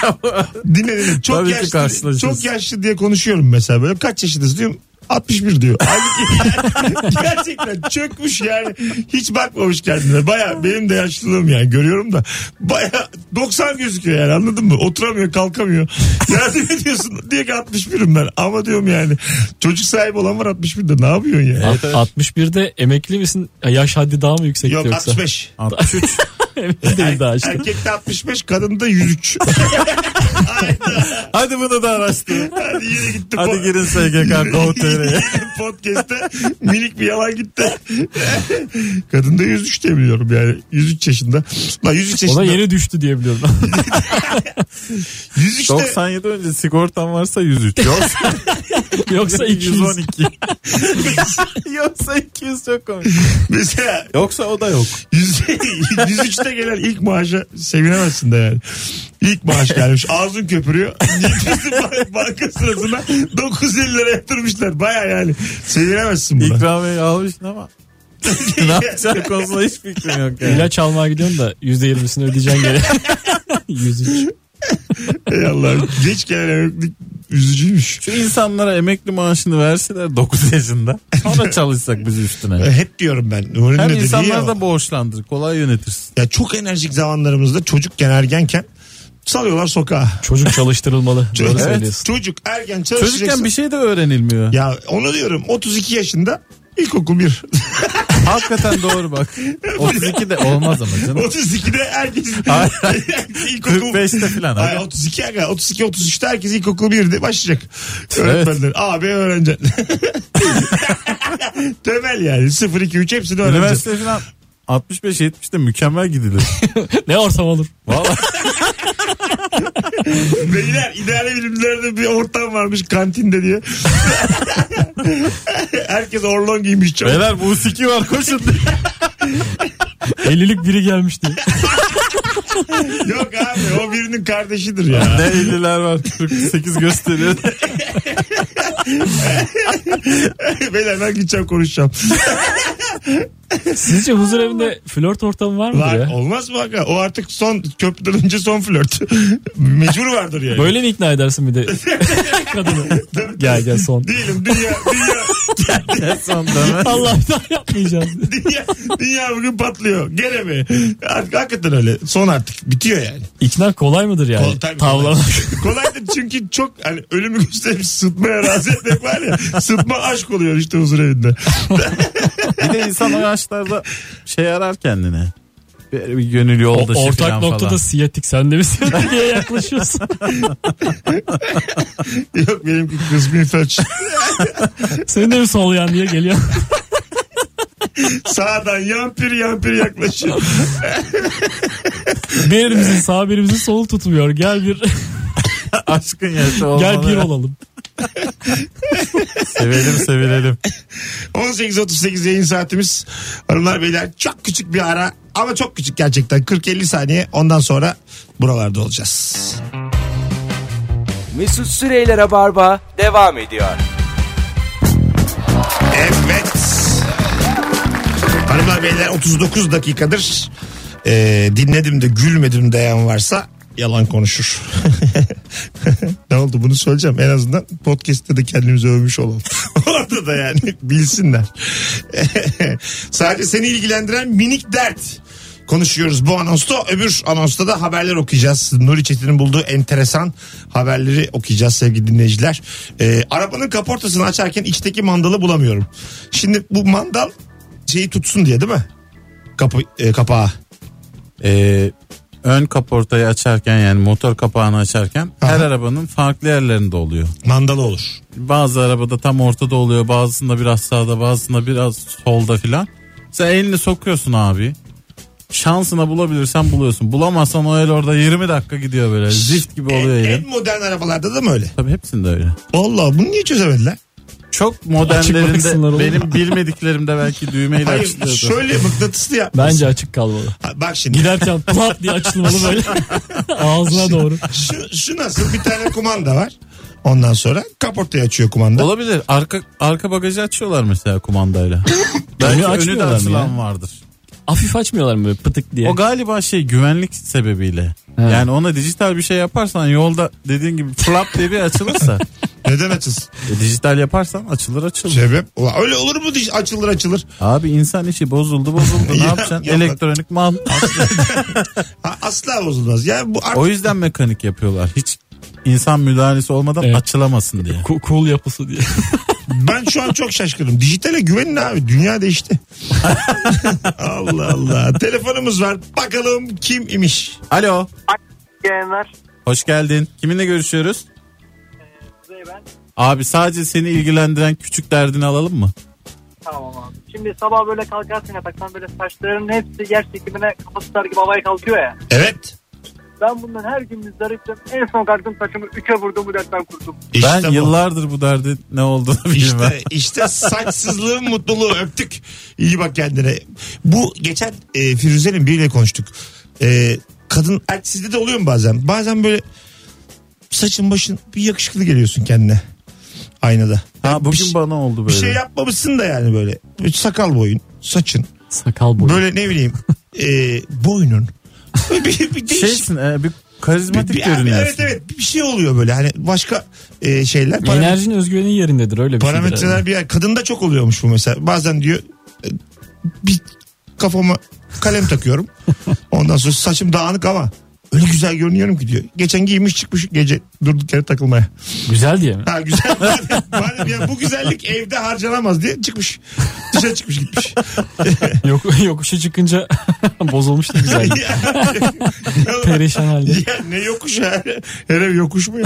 Speaker 2: çok dinle dinle çok
Speaker 3: Tabii ki
Speaker 2: yaşlı
Speaker 3: karşılaşıyorsun.
Speaker 2: çok yaşlı diye konuşuyorum mesela böyle kaç yaşındasın diyorum 61 diyor. Halbuki yani gerçekten çökmüş yani. Hiç bakmamış kendine. Baya benim de yaşlılığım yani görüyorum da. Baya 90 gözüküyor yani anladın mı? Oturamıyor kalkamıyor. Yardım ediyorsun diyor ki 61'im ben. Ama diyorum yani çocuk sahibi olan var 61'de ne yapıyorsun ya?
Speaker 4: Alt- 61'de emekli misin? Ya Yaş haddi daha mı yüksek
Speaker 2: Yok
Speaker 4: yoksa?
Speaker 2: 65.
Speaker 3: 63.
Speaker 4: Evli değil daha işte.
Speaker 2: Erkekte 65 kadında 103.
Speaker 3: Hadi bunu da araştır.
Speaker 2: Hadi yine gitti.
Speaker 3: Hadi girin SGK Go.tr'ye.
Speaker 2: Podcast'te minik bir yalan gitti. Kadında 103 diye biliyorum yani. 103 yaşında. Lan 103
Speaker 4: O
Speaker 2: yaşında.
Speaker 4: da yeni düştü diye biliyorum.
Speaker 2: 103'te
Speaker 3: 97 önce sigortan varsa 103. Yoksa
Speaker 4: Yoksa 200.
Speaker 3: 112. Yoksa 200 çok komik.
Speaker 2: mesela
Speaker 3: Yoksa o da yok.
Speaker 2: 103'te gelen ilk maaşa sevinemezsin de yani. İlk maaş gelmiş. Ağzın köpürüyor. Nefesin ba- banka sırasına 950 lira yatırmışlar. Baya yani. Sevinemezsin buna.
Speaker 3: İkramiyeyi almışsın ama ne yapacağın konusunda hiç fikrim yok yani.
Speaker 4: İlaç almaya gidiyorsun da %20'sini ödeyeceksin geri. 103.
Speaker 2: Ey Allah'ım. Geç gelen emeklilik üzücüymüş.
Speaker 3: Şu insanlara emekli maaşını verseler 9 yaşında. Sonra çalışsak biz üstüne.
Speaker 2: E, Hep diyorum ben. Nuri'nin
Speaker 3: Hem
Speaker 2: de dediği
Speaker 3: insanlar
Speaker 2: o.
Speaker 3: da borçlandır. Kolay yönetirsin.
Speaker 2: Ya çok enerjik zamanlarımızda çocukken ergenken salıyorlar sokağa.
Speaker 4: Çocuk çalıştırılmalı. Doğru
Speaker 2: Çocuk,
Speaker 4: söylüyorsun.
Speaker 2: çocuk ergen
Speaker 3: Çocukken
Speaker 2: çalışacaksın.
Speaker 3: bir şey de öğrenilmiyor.
Speaker 2: Ya onu diyorum 32 yaşında ilkokul 1.
Speaker 3: Hakikaten doğru bak. 32 de olmaz ama canım.
Speaker 2: 32'de herkes
Speaker 3: Hayır,
Speaker 2: ilkokul
Speaker 3: 45'te falan.
Speaker 2: Hayır, 32 aga 32 33'te herkes ilkokul 1'de başlayacak. Öğretmenler abi öğreneceksin. Temel yani 0 2 3 hepsini öğreneceksin.
Speaker 3: Üniversite falan 65-70'te mükemmel gidilir.
Speaker 4: Ne ortam olur.
Speaker 3: Vallahi
Speaker 2: Beyler idare bilimlerde bir ortam varmış kantinde diye. herkes orlon giymiş çok.
Speaker 3: beyler bu siki var koşun.
Speaker 4: 50'lik biri gelmişti.
Speaker 2: Yok abi o birinin kardeşidir ya.
Speaker 3: ne 50'ler var 48 gösteriyor.
Speaker 2: Beyler ben gideceğim konuşacağım.
Speaker 4: Sizce huzur evinde flört ortamı var mıdır
Speaker 2: Var,
Speaker 4: ya?
Speaker 2: olmaz mı aga? O artık son köprüden önce son flört. Mecbur vardır yani.
Speaker 4: Böyle mi ikna edersin bir de kadını? gel gel son.
Speaker 2: Değilim dünya dünya
Speaker 3: Son dönem.
Speaker 4: Allah bir daha yapmayacağız.
Speaker 2: dünya dünya bugün patlıyor. Gene mi? Artık hakikaten öyle. Son artık bitiyor yani.
Speaker 4: İkna kolay mıdır yani?
Speaker 2: Kolay-
Speaker 4: Hani Tavlamak.
Speaker 2: Kolaydır çünkü çok hani ölümü gösterip sıtmaya razı etmek var ya. Sıtma aşk oluyor işte huzur evinde.
Speaker 3: Bir de insan o yaşlarda şey arar kendine. Böyle bir gönül yoldaşı
Speaker 4: O- ortak
Speaker 3: falan
Speaker 4: noktada
Speaker 3: falan.
Speaker 4: siyatik sen de mi siyatik diye yaklaşıyorsun?
Speaker 2: Yok benimki kısmi felç.
Speaker 4: Senin de mi sol yan diye geliyor?
Speaker 2: Sağdan yampir yampir yaklaşıyor.
Speaker 4: Bir elimizin sağ birimizin solu tutmuyor. Gel bir
Speaker 3: Aşkın yaşı olmalı.
Speaker 4: gel bir olalım.
Speaker 3: Sevelim sevilelim.
Speaker 2: 18.38 yayın saatimiz. Hanımlar beyler çok küçük bir ara ama çok küçük gerçekten 40-50 saniye ondan sonra buralarda olacağız.
Speaker 1: Mesut Süreyler'e barba devam ediyor.
Speaker 2: Evet. Hanımlar beyler 39 dakikadır e, dinledim de gülmedim diyen varsa yalan konuşur. ne oldu bunu söyleyeceğim en azından podcast'te de kendimizi övmüş olalım. Orada da yani bilsinler. Sadece seni ilgilendiren minik dert konuşuyoruz bu anonsta. Öbür anonsta da haberler okuyacağız. Nuri Çetin'in bulduğu enteresan haberleri okuyacağız sevgili dinleyiciler. Ee, arabanın kaportasını açarken içteki mandalı bulamıyorum. Şimdi bu mandal şeyi tutsun diye değil mi? Kapı, e, kapağı.
Speaker 3: Ee, ön kaportayı açarken yani motor kapağını açarken her
Speaker 2: Aha.
Speaker 3: arabanın farklı yerlerinde oluyor.
Speaker 2: Mandalı olur.
Speaker 3: Bazı arabada tam ortada oluyor bazısında biraz sağda bazısında biraz solda filan. Sen elini sokuyorsun abi. Şansına bulabilirsen buluyorsun. Bulamazsan o el orada 20 dakika gidiyor böyle. Zift gibi oluyor
Speaker 2: en,
Speaker 3: elin.
Speaker 2: en modern arabalarda da mı öyle?
Speaker 3: Tabii hepsinde öyle.
Speaker 2: Vallahi bunu niye çözemediler?
Speaker 3: Çok
Speaker 4: bıraksınlar
Speaker 3: modernlerinde
Speaker 4: oğlum.
Speaker 3: benim bilmediklerimde belki düğmeyle
Speaker 2: Hayır
Speaker 3: açılıyordu.
Speaker 2: şöyle mıknatıslı yapmış.
Speaker 4: Bence açık kalmalı.
Speaker 2: Bak şimdi.
Speaker 4: Giderken plap diye açılmalı böyle. Ağzına doğru.
Speaker 2: Şu, şu nasıl bir tane kumanda var. Ondan sonra kaportayı açıyor kumanda.
Speaker 3: Olabilir. Arka arka bagajı açıyorlar mesela kumandayla. belki
Speaker 4: Önü
Speaker 3: önü de
Speaker 4: açmıyorlar mı
Speaker 3: açılan
Speaker 4: ya?
Speaker 3: vardır.
Speaker 4: Hafif açmıyorlar mı böyle pıtık diye?
Speaker 3: O galiba şey güvenlik sebebiyle. Yani ona dijital bir şey yaparsan yolda dediğin gibi flap diye bir açılırsa.
Speaker 2: Neden açılsın?
Speaker 3: e, dijital yaparsan açılır açılır.
Speaker 4: Şey-
Speaker 2: Sebep. Ulan öyle olur mu? diş- Açılır açılır.
Speaker 3: Abi insan işi bozuldu bozuldu. ne
Speaker 2: Ya,
Speaker 3: yapacaksın?
Speaker 2: ya.
Speaker 3: Elektronik mal.
Speaker 2: Ha, asla bozulmaz. Ya bu artık
Speaker 3: o yüzden mekanik yapıyorlar. Hiç insan müdahalesi olmadan
Speaker 4: Evet.
Speaker 3: açılamasın diye.
Speaker 4: Ku- Cool yapısı diye.
Speaker 2: Ben şu an çok şaşkınım. Dijitale güvenin abi. Dünya değişti. Allah Allah. Telefonumuz var. Bakalım kim imiş?
Speaker 3: Alo.
Speaker 5: Yayınlar.
Speaker 3: Hoş geldin. Kiminle görüşüyoruz?
Speaker 5: Kuzey ben.
Speaker 3: Abi sadece seni ilgilendiren küçük derdini alalım mı?
Speaker 5: Tamam abi. Şimdi sabah böyle kalkarsın yataktan böyle saçlarının hepsi yer çekimine kafa tutar gibi havaya kalkıyor ya.
Speaker 2: Evet.
Speaker 5: Ben bundan her gün müzdariptim. En son kalktım saçımı üçe vurdum bu dertten kurtuldum.
Speaker 2: İşte
Speaker 3: ben
Speaker 2: bu.
Speaker 3: yıllardır bu derdi ne olduğunu bilmem.
Speaker 2: İşte, işte saçsızlığın mutluluğu öptük. İyi bak kendine. Bu geçen e, Firuze'nin biriyle konuştuk. E, kadın er- sizde de oluyor mu bazen? Bazen böyle saçın başın bir yakışıklı geliyorsun kendine. Aynada.
Speaker 3: Ha bugün
Speaker 2: şey-
Speaker 3: bana oldu
Speaker 2: Bir
Speaker 3: böyle.
Speaker 2: şey yapmamışsın da yani böyle. Sakal boyun, saçın.
Speaker 4: Sakal boyu.
Speaker 2: Böyle ne bileyim e, boynun. bir, bir, bir değişik-
Speaker 3: Şeysin e, bir
Speaker 2: bir-
Speaker 3: karizmatik
Speaker 2: bir-
Speaker 3: görünüyorsun.
Speaker 2: evet evet bir şey oluyor böyle hani başka e, şeyler. parametre-
Speaker 4: Enerjinin özgüvenin yerindedir öyle bir şey. şeydir herhalde.
Speaker 2: Parametreler bir yer. Kadında çok oluyormuş bu mesela. Bazen diyor e, bir kafama kalem takıyorum. Ondan sonra saçım dağınık ama öyle güzel görünüyorum ki diyor. Geçen giymiş çıkmış gece durduk yere takılmaya.
Speaker 4: Güzel diye mi?
Speaker 2: Ha güzel. Madem- madem ya bu güzellik evde harcanamaz diye çıkmış. Dışarı çıkmış gitmiş.
Speaker 4: Yok, yokuşa çıkınca bozulmuş da güzel.
Speaker 2: ya,
Speaker 4: Perişan halde.
Speaker 2: ya ne yokuş ya. Her ev yokuş mu ya?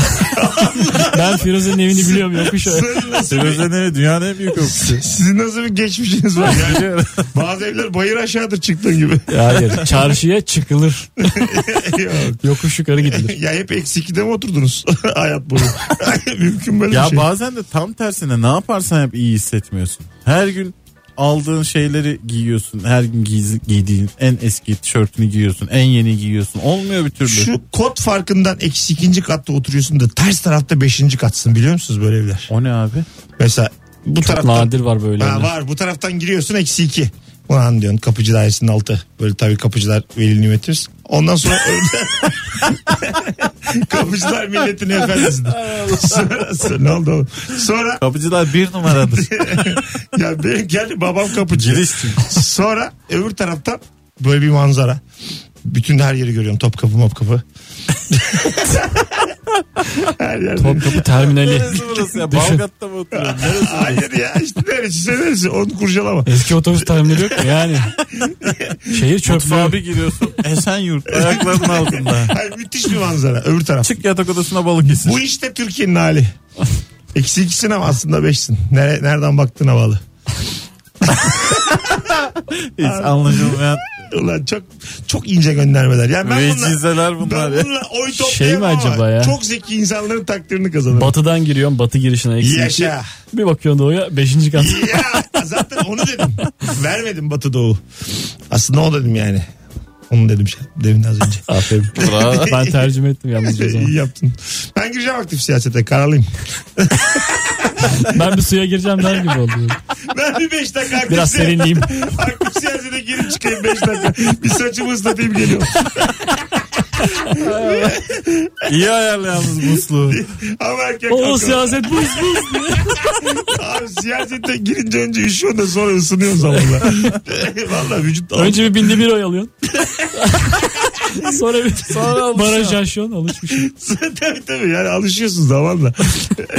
Speaker 4: Ben Firuze'nin evini biliyorum yokuş öyle.
Speaker 2: Sizin nasıl,
Speaker 3: Firuze ne? Dünyanın en büyük öpücüsü.
Speaker 2: sizin nasıl bir geçmişiniz var? Yani bazı evler bayır aşağıdır çıktığın gibi.
Speaker 4: Hayır çarşıya çıkılır.
Speaker 2: Yok.
Speaker 4: Yokuş yukarı gidilir.
Speaker 2: ya hep eksi ikide mi oturdunuz hayat boyu? Mümkün böyle bir
Speaker 3: ya
Speaker 2: şey.
Speaker 3: bazen de tam tersine ne yaparsan yap iyi hissetmiyorsun. Her gün aldığın şeyleri giyiyorsun. Her gün giy- giydiğin en eski tişörtünü giyiyorsun. En yeni giyiyorsun. Olmuyor bir türlü.
Speaker 2: Şu kod farkından eksi ikinci katta oturuyorsun da ters tarafta beşinci katsın biliyor musunuz böyle evler?
Speaker 3: O ne abi?
Speaker 2: Mesela bu taraftan
Speaker 4: Nadir var böyle.
Speaker 2: ha, var bu taraftan giriyorsun eksi iki. Ulan diyorsun kapıcı dairesinin altı. Böyle tabii kapıcılar veli nimetimiz. Ondan sonra orada kapıcılar milletin efendisidir. sonra, sonra, ne oldu oğlum? Sonra
Speaker 3: Kapıcılar bir numaradır.
Speaker 2: ya benim geldi babam kapıcı.
Speaker 3: Giriş.
Speaker 2: Sonra öbür taraftan böyle bir manzara. Bütün her yeri görüyorum. Topkapı mopkapı. her yerde.
Speaker 4: Topkapı terminali.
Speaker 3: Neresi burası ya?
Speaker 4: Düşün.
Speaker 3: Balgat'ta mı oturuyorsun? Neresi?
Speaker 2: Hayır ya işte şey, neresi neresi onu kurcalama.
Speaker 4: Eski otobüs terminali yok mu yani? Şehir
Speaker 3: Mutfağa
Speaker 4: çöplüğü.
Speaker 3: bir giriyorsun. Esenyurt. Ayaklarının altında.
Speaker 2: Hayır, müthiş bir manzara öbür taraf.
Speaker 3: Çık yatak odasına balık yesin.
Speaker 2: Bu işte Türkiye'nin hali. Eksi ikisin ama aslında beşsin. Nere, nereden baktığına bağlı.
Speaker 3: Hiç anlaşılmayan
Speaker 2: Ulan çok çok ince göndermeler. Yani ben bununla,
Speaker 3: vecizeler
Speaker 2: ben
Speaker 3: bunlar. ya.
Speaker 2: bununla oy
Speaker 4: Şey mi
Speaker 2: toplayamam ama
Speaker 4: acaba ya?
Speaker 2: çok zeki insanların takdirini kazanırım.
Speaker 4: Batıdan giriyorsun batı girişine eksi iki.
Speaker 2: Yaşa.
Speaker 4: Bir bakıyorsun doğuya beşinci kat.
Speaker 2: ya zaten onu dedim. Vermedim Batı Doğu. Aslında o dedim yani. Onu dedim şey, demin az önce.
Speaker 4: Aferin. ben tercüme ettim yalnızca o zaman.
Speaker 2: İyi yaptın. Ben gireceğim aktif siyasete kararlıyım.
Speaker 4: Ben bir suya gireceğim der gibi oldu.
Speaker 2: Ben bir 5 dakika aktif,
Speaker 4: Biraz
Speaker 2: siya-
Speaker 4: serinleyeyim.
Speaker 2: aktif siyasete girip çıkayım 5 dakika. Bir saçımı ıslatayım geliyorum.
Speaker 3: İyi ayarlı yalnız musluğu.
Speaker 2: Ama erkek
Speaker 4: O
Speaker 2: kalkıyor.
Speaker 4: siyaset buz buz.
Speaker 2: Abi siyasete girince önce üşüyorsun da sonra ısınıyorsun zamanla. Valla vücut
Speaker 4: Önce bir binde bir oy alıyorsun. Sonra bir baraj aşıyorsun alışmışsın.
Speaker 2: tabii tabii yani alışıyorsun zamanla.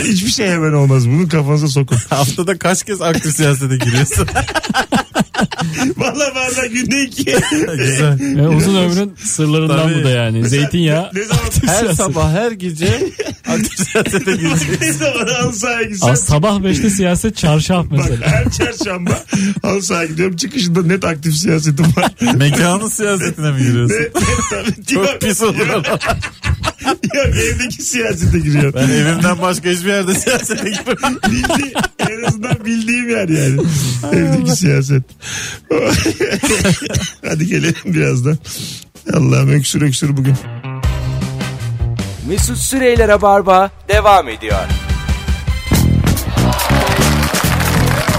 Speaker 2: Hiçbir şey hemen olmaz. Bunu kafanıza sokun.
Speaker 3: Haftada kaç kez aktif siyasete giriyorsun?
Speaker 2: Valla bazen günde iki.
Speaker 3: Güzel.
Speaker 4: Yani E, uzun ömrün sırlarından
Speaker 3: Tabii.
Speaker 4: bu da yani. Zeytinyağı.
Speaker 2: Ne zaman
Speaker 3: Her
Speaker 4: Siyaset.
Speaker 3: sabah her gece aktif siyasete gireceksin.
Speaker 2: ne zaman halı sahaya gitsem.
Speaker 4: Az sabah 5'te siyaset çarşaf
Speaker 2: Bak
Speaker 4: mesela.
Speaker 2: her çarşamba halı sahaya gidiyorum. Çıkışında net aktif siyasetim var.
Speaker 3: Mekanın siyasetine mi
Speaker 2: Net,
Speaker 3: giriyorsun?
Speaker 2: net tabii.
Speaker 3: Çok
Speaker 2: Yok,
Speaker 3: pis olur ama.
Speaker 2: yok, evdeki siyasete giriyor.
Speaker 3: Ben evimden başka hiçbir yerde siyasete girmem.
Speaker 2: Bildi, en azından bildiğim yer yani. evdeki siyaset. Hadi gelelim birazdan. Allah'ım öksür öksür bugün.
Speaker 1: Mesut Süreyler'e barba devam ediyor.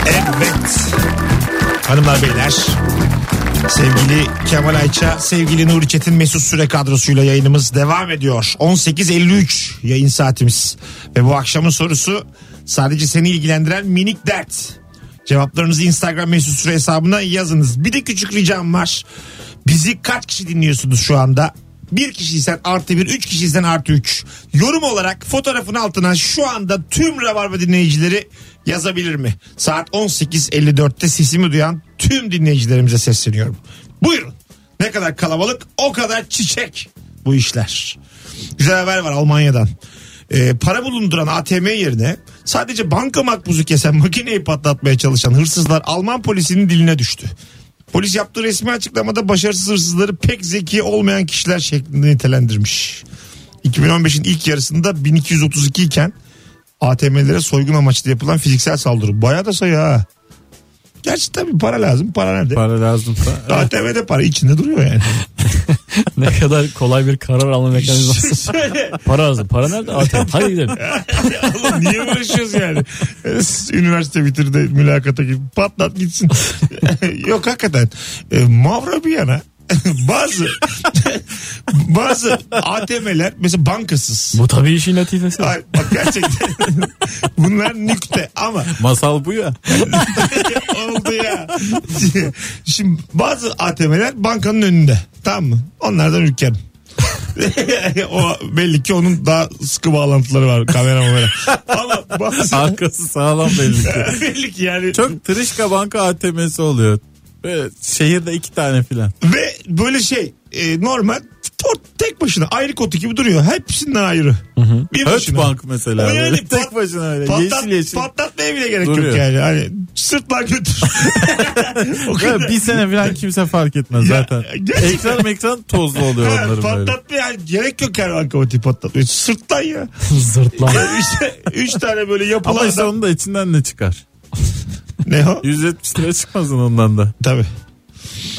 Speaker 2: Evet. Hanımlar beyler. Sevgili Kemal Ayça, sevgili Nuri Çetin Mesut Süre kadrosuyla yayınımız devam ediyor. 18.53 yayın saatimiz. Ve bu akşamın sorusu sadece seni ilgilendiren minik dert. Cevaplarınızı Instagram Mesut Süre hesabına yazınız. Bir de küçük ricam var. Bizi kaç kişi dinliyorsunuz şu anda? Bir kişiysen artı bir, üç kişiysen artı üç. Yorum olarak fotoğrafın altına şu anda tüm Rabarba dinleyicileri yazabilir mi? Saat 18.54'te sesimi duyan tüm dinleyicilerimize sesleniyorum. Buyurun. Ne kadar kalabalık o kadar çiçek bu işler. Güzel haber var Almanya'dan. Ee, para bulunduran ATM yerine sadece banka makbuzu kesen makineyi patlatmaya çalışan hırsızlar Alman polisinin diline düştü. Polis yaptığı resmi açıklamada başarısız hırsızları pek zeki olmayan kişiler şeklinde nitelendirmiş. 2015'in ilk yarısında 1232 iken ATM'lere soygun amaçlı yapılan fiziksel saldırı. Bayağı da sayı ha. Gerçi tabii para lazım. Para nerede?
Speaker 3: Para lazımsa.
Speaker 2: ATM'de para içinde duruyor yani.
Speaker 4: ne kadar kolay bir karar alma mekanizması.
Speaker 2: Şöyle,
Speaker 4: para lazım. Para nerede? ATM. Hadi gidelim.
Speaker 2: oğlum niye uğraşıyoruz yani? E, Üniversite bitirdi mülakata gibi patlat gitsin. Yok hakikaten. E, mavra bir yana bazı bazı ATM'ler mesela bankasız.
Speaker 4: Bu tabii işin latifesi.
Speaker 2: Ay, bak gerçekten bunlar nükte ama
Speaker 3: Masal bu ya.
Speaker 2: oldu ya. Şimdi bazı ATM'ler bankanın önünde. Tamam mı? Onlardan ürkerim. o belli ki onun daha sıkı bağlantıları var kamera mamera. Ama bazı
Speaker 3: Arkası sağlam belli ki.
Speaker 2: belli ki yani.
Speaker 3: Çok tırışka banka ATM'si oluyor. Böyle şehirde iki tane filan.
Speaker 2: Ve böyle şey e, normal tort tek başına ayrı kotu gibi duruyor. Hepsinden ayrı. Bir
Speaker 3: Höt bank mesela.
Speaker 2: O yani
Speaker 3: böyle.
Speaker 2: pat-
Speaker 3: tek başına öyle.
Speaker 2: Patlat,
Speaker 3: yeşil yeşil.
Speaker 2: Patlatmaya bile gerek yok
Speaker 3: Duruyor.
Speaker 2: yani. Hani sırtlan götür. o
Speaker 3: Ya
Speaker 2: kadar.
Speaker 3: bir sene falan kimse fark etmez
Speaker 2: Ya,
Speaker 3: zaten.
Speaker 2: gerçekten.
Speaker 3: Ekran ekran tozlu oluyor
Speaker 2: Ha,
Speaker 3: onların böyle.
Speaker 2: patlatmaya gerek yok her banka o tip patlatmaya. Sırttan ya.
Speaker 4: Zırtlan.
Speaker 2: Yani işte üç tane böyle yapılan
Speaker 3: Ama işte
Speaker 2: adam-
Speaker 3: onun da içinden ne çıkar?
Speaker 2: Ne o?
Speaker 3: 170 lira çıkmasın ondan da.
Speaker 2: Tabii.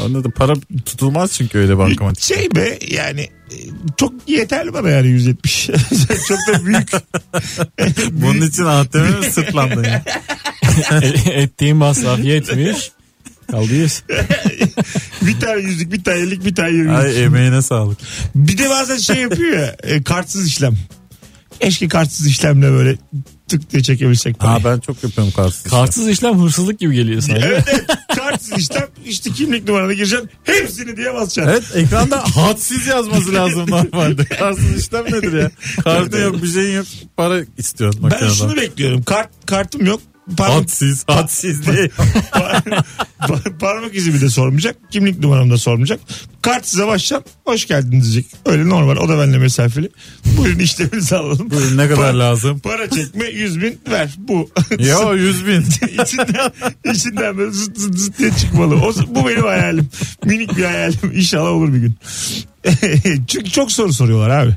Speaker 3: Onda da para tutulmaz çünkü öyle bankamatik.
Speaker 2: Şey be yani e, çok yeterli bana yani 170. çok da büyük.
Speaker 3: Bunun için ATM'e mi sırtlandın ya?
Speaker 4: E- Ettiğim masraf yetmiş. Kaldıyız.
Speaker 2: bir tane yüzlük, bir tane ellik, bir tane yirmi.
Speaker 3: Ay emeğine sağlık.
Speaker 2: Bir de bazen şey yapıyor ya e, kartsız işlem. Keşke kartsız işlemle böyle tık diye çekebilsek parayı.
Speaker 3: Ha ben çok yapıyorum karşısında.
Speaker 4: Kartsız işlem hırsızlık gibi geliyor sana.
Speaker 2: Evet, evet kartsız işlem işte kimlik numaranı gireceksin hepsini diye basacaksın.
Speaker 3: Evet ekranda hadsiz yazması lazım normalde. Kartsız işlem nedir ya? Kartın yok bir şeyin yok. Para istiyorsun
Speaker 2: Ben
Speaker 3: makineden.
Speaker 2: şunu bekliyorum kart kartım yok parmak,
Speaker 3: Hadsiz, hadsiz diye.
Speaker 2: par- par- parmak izimi de sormayacak kimlik numaramı da sormayacak. Kart size başlayacağım hoş geldiniz diyecek öyle normal o da benimle mesafeli. Buyurun işleminizi alalım.
Speaker 3: Buyurun, ne kadar
Speaker 2: Para-
Speaker 3: lazım?
Speaker 2: Para çekme 100 bin ver bu.
Speaker 3: Ya 100 bin.
Speaker 2: içinden, içinden böyle zıt zıt zıt diye çıkmalı. O, bu benim hayalim. Minik bir hayalim. İnşallah olur bir gün. Çünkü çok soru soruyorlar abi.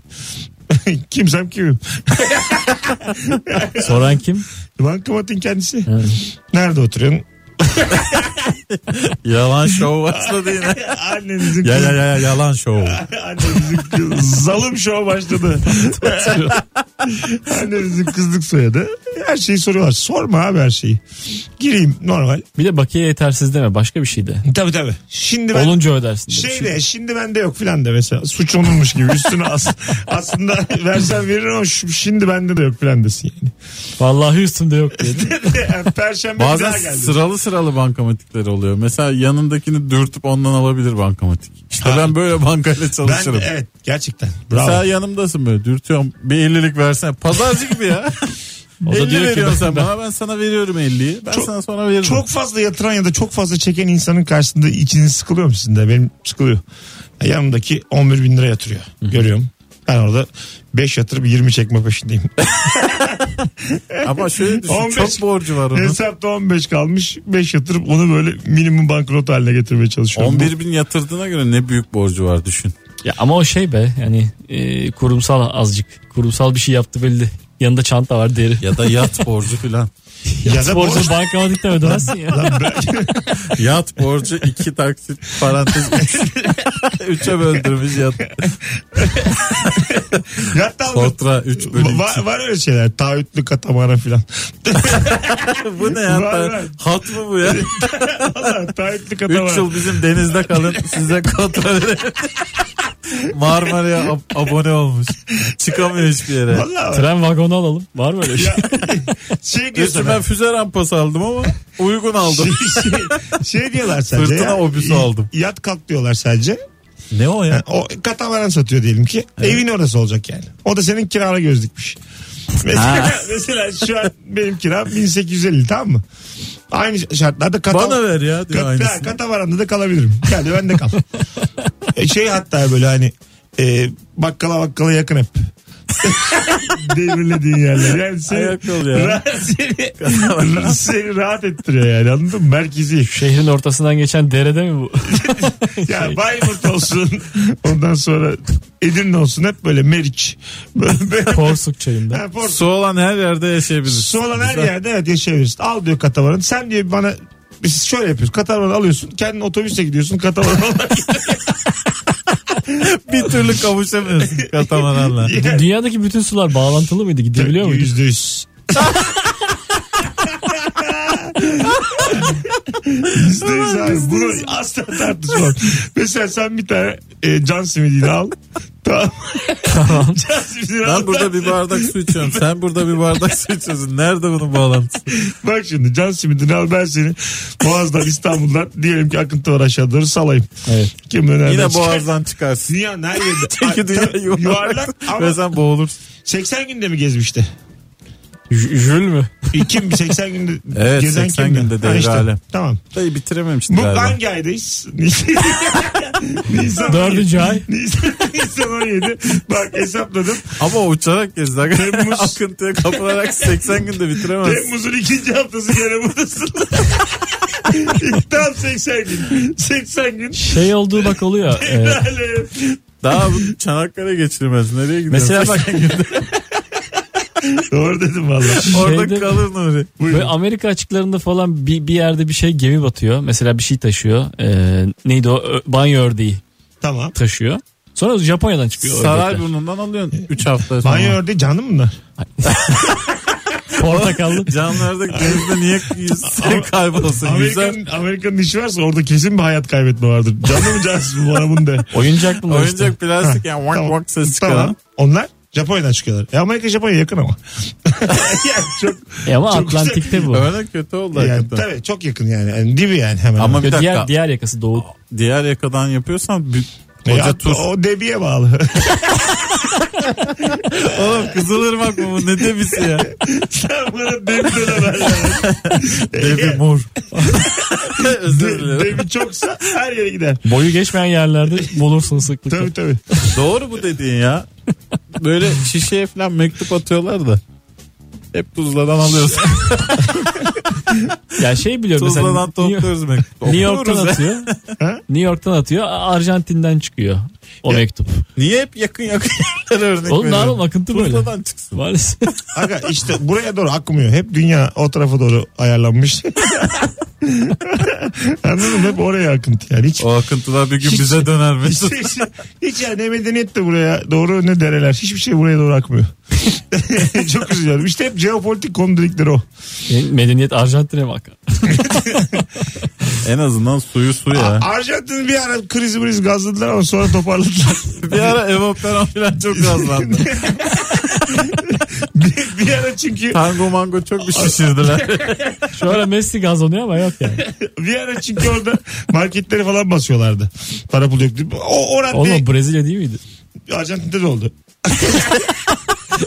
Speaker 2: Kimsem kimim.
Speaker 4: Soran kim?
Speaker 2: Bankamatiğin kendisi. Nerede oturuyorsun?
Speaker 3: Yalan şov başladı yine.
Speaker 2: Annenizin
Speaker 3: Ya ya ya ya, yalan şov.
Speaker 2: Annemizin kız- zalım şov başladı. Annemizin kızlık soyadı. Her şeyi soruyorlar. Sorma abi her şeyi. Gireyim normal.
Speaker 4: Bir de bakiye yetersiz deme. Başka bir şey de.
Speaker 2: Tabii tabii. Şimdi ben
Speaker 4: Olunca ödersin. de.
Speaker 2: Şey de şimdi bende yok filan de mesela suç onunmuş gibi üstüne as, aslında versen verir ama şu- şimdi bende de yok filan desin yani.
Speaker 4: Vallahi üstümde yok diye.
Speaker 2: Perşembe bir
Speaker 3: Bazen
Speaker 2: daha geldi.
Speaker 3: sıralı sıralı bankamatikler oluyor. Mesela yanındakini dürtüp ondan alabilir bankamatik. İşte
Speaker 2: Ha.
Speaker 3: ben böyle bankayla
Speaker 2: ben
Speaker 3: çalışırım.
Speaker 2: de, evet gerçekten bravo.
Speaker 3: Mesela yanımdasın böyle dürtüyorum bir ellilik versene. Pazarcı gibi ya.
Speaker 4: O da
Speaker 3: 50
Speaker 4: diyor ki
Speaker 3: veriyorsun sen
Speaker 4: ben,
Speaker 3: bana ben sana veriyorum 50'yi. Ben
Speaker 2: Çok-
Speaker 3: sana sonra veririm.
Speaker 2: Çok fazla yatıran ya da çok fazla çeken insanın karşısında içiniz sıkılıyor mu sizin de? Benim sıkılıyor. Yanımdaki 11 bin lira yatırıyor. Görüyorum. Ben orada 5 yatırıp 20 çekme peşindeyim.
Speaker 3: Ama şöyle düşün
Speaker 2: 15
Speaker 3: çok borcu var onun.
Speaker 2: Hesapta 15 kalmış. 5 yatırıp onu böyle minimum bankrot haline getirmeye çalışıyorum.
Speaker 3: 11 bin yatırdığına göre ne büyük borcu var düşün.
Speaker 4: ya ama o şey be yani e, kurumsal azıcık. Kurumsal bir şey yaptı belli. Yanında çanta var deri.
Speaker 3: Ya da yat borcu filan.
Speaker 2: ya da borç
Speaker 4: Borcu bankamatikten ödemezsin ya.
Speaker 2: Lan ben-
Speaker 3: Yat borcu 2 taksit parantez 3'e böldürmüş yat.
Speaker 2: Hatta
Speaker 3: Kontra 3 bölü
Speaker 2: var, var öyle şeyler. Taahhütlü katamara filan.
Speaker 3: 2. Bu ne ya?
Speaker 2: Var, var.
Speaker 3: Hat mı bu ya?
Speaker 2: Valla taahhütlü
Speaker 3: 3
Speaker 2: katamara.
Speaker 3: yıl bizim denizde kalın size kontra verelim. Marmara'ya ab- abone olmuş. Çıkamıyor hiçbir yere.
Speaker 2: Valla var.
Speaker 4: Tren vagonu alalım. Var mı öyle şey?
Speaker 2: Ya, şey diyor
Speaker 3: Gerçi
Speaker 2: sana.
Speaker 3: ben füze rampası aldım ama uygun
Speaker 2: Şey,
Speaker 3: aldım.
Speaker 2: şey, şey diyorlar sadece.
Speaker 3: Fırtına obüsü aldım.
Speaker 2: Yat kalk diyorlar sadece.
Speaker 3: Ne o ya?
Speaker 2: Yani o katamaran satıyor diyelim ki. Evin orası olacak yani. O da senin kirana göz dikmiş. mesela, mesela şu an benim kiram 1850 tamam mı? Aynı şartlarda katamaran.
Speaker 3: Bana ver ya diyor
Speaker 2: Kat,
Speaker 3: aynısını.
Speaker 2: katamaranda da kalabilirim. Gel ben de kal. E, şey hatta böyle hani e, bakkala bakkala yakın hep. Devirlediğin yerler. Yani seni,
Speaker 3: Ayak yol ya.
Speaker 2: Rahat, seni, seni rahat ettiriyor yani anladın mı? Merkezi.
Speaker 4: Şehrin ortasından geçen derede mi bu?
Speaker 2: Ya Bayburt olsun. Ondan sonra Edirne olsun. Hep böyle Meriç. Böyle, böyle,
Speaker 4: Porsuk çayında.
Speaker 2: Ha, Porto.
Speaker 3: Su olan her yerde yaşayabiliriz.
Speaker 2: Su olan her
Speaker 3: Güzel.
Speaker 2: yerde evet yaşayabilirsin. Al diyor katamaranı. Sen diyor bana biz şöyle yapıyoruz. Katamaranı alıyorsun. Kendin otobüse gidiyorsun. Katamaranı alarak
Speaker 3: Bir türlü kavuşamıyorsun katamaranla.
Speaker 2: gidiyorsun.
Speaker 4: Dünyadaki bütün sular bağlantılı mıydı? Gidebiliyor muydu?
Speaker 2: Yüzde yüz. Yüzde yüz abi. Bunu asla tartışmam. Mesela sen bir tane e, can simidini al. Tamam. can simidini al.
Speaker 3: Ben burada bir bardak su içiyorum. Sen burada bir bardak su içiyorsun. Nerede bunun bağlantısı?
Speaker 2: Bak şimdi can simidini al ben seni Boğaz'dan İstanbul'dan diyelim ki akıntı var aşağı doğru salayım.
Speaker 4: Evet.
Speaker 2: Kim bilir nereden
Speaker 3: Yine
Speaker 2: çıkar?
Speaker 3: boğazdan çıkarsın.
Speaker 2: Dünyanın her yerinde.
Speaker 3: Çünkü dünya
Speaker 2: Ay,
Speaker 3: yuvarlak.
Speaker 2: yuvarlak ama
Speaker 3: Ve sen boğulursun.
Speaker 2: 80 günde mi gezmişti? E,
Speaker 4: J- Jül mü?
Speaker 2: Kim 80 günde
Speaker 3: Evet,
Speaker 2: gezen
Speaker 3: 80
Speaker 2: kimdi?
Speaker 3: günde
Speaker 2: Ha
Speaker 3: devre alem.
Speaker 2: Tamam.
Speaker 3: Dayı bitirememiştim
Speaker 2: Bu
Speaker 3: galiba.
Speaker 2: hangi aydayız? Nisan
Speaker 4: Dördüncü ay.
Speaker 2: Nisan, Nisan 17. Bak hesapladım.
Speaker 3: Ama uçarak gezdi.
Speaker 2: Temmuz-
Speaker 3: Akıntıya kapılarak 80 günde bitiremez.
Speaker 2: Temmuz'un ikinci haftası gene buradasın. Tam 80 gün. 80 gün.
Speaker 4: Şey olduğu bak oluyor. e,
Speaker 2: Helal.
Speaker 3: Daha bu Çanakkale geçirmez. Nereye gidiyorsun?
Speaker 4: mesela bak
Speaker 2: Doğru dedim valla.
Speaker 3: Orada
Speaker 4: Şeyde-
Speaker 3: kalır Nuri.
Speaker 4: Böyle Amerika açıklarında falan bir, bir yerde bir şey gemi batıyor. Mesela bir şey taşıyor. Ee, neydi o? Ö- Banyo ördeği
Speaker 2: Tamam.
Speaker 4: taşıyor. Sonra Japonya'dan çıkıyor ördekler.
Speaker 3: Sarayburnu'ndan alıyorsun 3 hafta sonra.
Speaker 2: Banyo ördeği canlı mı bunlar?
Speaker 4: Portakallı.
Speaker 3: Canlı ördek denizde niye yüzleri kaybolsun? Güzel.
Speaker 2: Amerika'nın Amerika'nın işi varsa orada kesin bir hayat kaybetme vardır. Canlı mı cansız mı bana bunu de.
Speaker 4: Oyuncak bunlar işte.
Speaker 3: Oyuncak plastik yani vak vak ses çıkaran.
Speaker 2: Tamam. Onlar Japonya'dan çıkıyorlar. E Amerika Japonya yakın ama. yani çok,
Speaker 4: E ama
Speaker 2: Çok güzel.
Speaker 4: Atlantik'te bu.
Speaker 3: Örnek kötü oldu
Speaker 2: yani,
Speaker 3: hakikaten.
Speaker 2: tabii çok yakın yani. yani dibi yani hemen.
Speaker 3: Ama
Speaker 2: hemen.
Speaker 3: bir dakika.
Speaker 4: diğer, diğer yakası doğu.
Speaker 3: Diğer yakadan yapıyorsan bir...
Speaker 2: E,
Speaker 3: Hoca
Speaker 2: at-
Speaker 3: tuz.
Speaker 2: O debiye bağlı.
Speaker 3: Oğlum Kızılırmak mı bu? Ne debisi ya?
Speaker 2: Sen bana debi dönemez. yani.
Speaker 3: Debi mor. Özür
Speaker 2: De-
Speaker 3: dilerim.
Speaker 2: E, debi çoksa her yere gider.
Speaker 4: Boyu geçmeyen yerlerde bulursun sıklıkla.
Speaker 2: Tabii tabii.
Speaker 3: Doğru bu dediğin ya. Böyle şişeye falan mektup atıyorlar da. Hep tuzladan alıyoruz.
Speaker 4: Ya şey biliyorum mesela.
Speaker 3: tuzladan
Speaker 4: New,
Speaker 3: topluyoruz mektup.
Speaker 4: New
Speaker 3: Okuyoruz
Speaker 4: York'tan
Speaker 3: ya.
Speaker 4: atıyor.
Speaker 2: Ha?
Speaker 4: New York'tan atıyor. Arjantin'den çıkıyor. O
Speaker 2: Ya-
Speaker 4: mektup.
Speaker 3: Niye hep yakın yakın yerlere örnek
Speaker 4: Oğlum ne
Speaker 3: veriyorsun?
Speaker 4: yapalım akıntı böyle.
Speaker 3: Tuzladan çıksın.
Speaker 4: Maalesef.
Speaker 2: Aga işte buraya doğru akmıyor. Hep dünya o tarafa doğru ayarlanmış. Anladın mı? Hep oraya akıntı yani. Hiç,
Speaker 3: O akıntılar bir gün
Speaker 2: Hiç-
Speaker 3: bize döner mi?
Speaker 2: hiç, hiç, hiç yani ne medeniyet de buraya doğru ne dereler. Hiçbir şey buraya doğru akmıyor. Çok üzülüyorum. İşte hep jeopolitik konu dedikleri o.
Speaker 4: E, Medeniyet Arjantin'e bak.
Speaker 3: en azından suyu su ya.
Speaker 2: Arjantin bir ara krizi kriz gazladılar ama sonra toparladılar.
Speaker 3: bir ara evaporan falan çok azlandı.
Speaker 2: bir, bir ara çünkü
Speaker 3: Tango mango çok bir şişirdiler.
Speaker 4: Şu ara Messi gazlanıyor ama yok yani.
Speaker 2: bir ara çünkü orada marketleri falan basıyorlardı. Para pul yoktu. O oran
Speaker 4: Oğlum
Speaker 2: değil,
Speaker 4: o Brezilya değil miydi?
Speaker 2: Arjantin'de de oldu.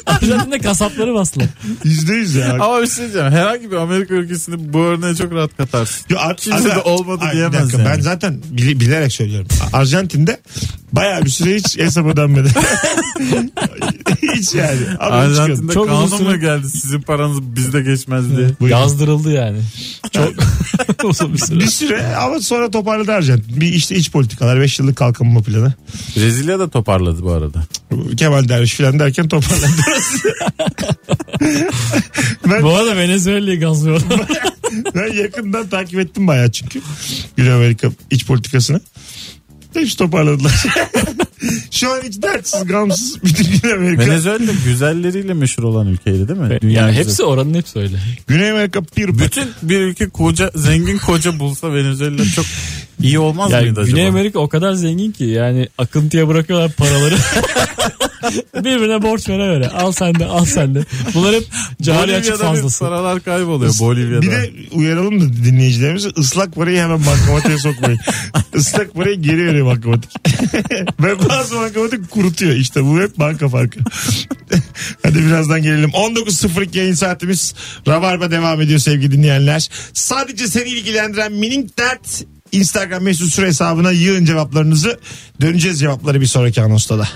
Speaker 4: Arjantin'de kasapları bastılar.
Speaker 2: Yüzde yüz ya.
Speaker 3: Ama bir şey diyeceğim. Herhangi bir Amerika ülkesini bu örneğe çok rahat katarsın.
Speaker 2: Yo, Ar-
Speaker 3: Kimse de olmadı
Speaker 2: Ay, bir
Speaker 3: diyemez
Speaker 2: dakika,
Speaker 3: yani.
Speaker 2: Ben zaten bili- bilerek söylüyorum. Arjantin'de bayağı bir süre hiç hesaba dönmedi. hiç yani. Ama
Speaker 3: Arjantin'de
Speaker 4: Çok uzun
Speaker 3: kanun
Speaker 4: süre-
Speaker 3: mu geldi sizin paranız bizde geçmez diye.
Speaker 2: Buyurun.
Speaker 4: Yazdırıldı yani. Çok uzun bir süre.
Speaker 2: Bir süre ama sonra toparladı Arjantin. Bir işte iç politikalar 5 yıllık kalkınma planı.
Speaker 3: Brezilya da toparladı bu arada.
Speaker 2: Kemal Derviş falan derken toparladı.
Speaker 4: Bu arada Venezuela'yı gazlıyorlar.
Speaker 2: ben yakından takip ettim bayağı çünkü. Güney Amerika iç politikasını. Hepsi toparladılar. Şu an hiç dertsiz, gamsız bütün Güney Amerika.
Speaker 3: Venezuela güzelleriyle meşhur olan ülkeydi değil mi?
Speaker 4: yani
Speaker 3: güzeli.
Speaker 4: hepsi oranın hepsi öyle.
Speaker 2: Güney Amerika bir
Speaker 3: Bütün bir ülke koca zengin koca bulsa Venezuela çok İyi olmaz
Speaker 4: Yani
Speaker 3: mıydı
Speaker 4: Güney
Speaker 3: acaba?
Speaker 4: Amerika o kadar zengin ki yani akıntıya bırakıyorlar paraları. Birbirine borç vere vere. Al sen de al sen de. Bunlar hep cari açık
Speaker 3: Bolivya'da bir
Speaker 4: fazlası.
Speaker 3: paralar kayboluyor Bolivya'da.
Speaker 2: Bir de uyaralım da dinleyicilerimizi ıslak parayı hemen bankamatiğe sokmayın. Islak parayı geri veriyor bankamatik. Ve bazı bankamatik kurutuyor. İşte bu hep banka farkı. Hadi birazdan gelelim. 19.02 yayın saatimiz. Rabarba devam ediyor sevgili dinleyenler. Sadece seni ilgilendiren minik dert Instagram mesut süre hesabına yığın cevaplarınızı. Döneceğiz cevapları bir sonraki anonsta da.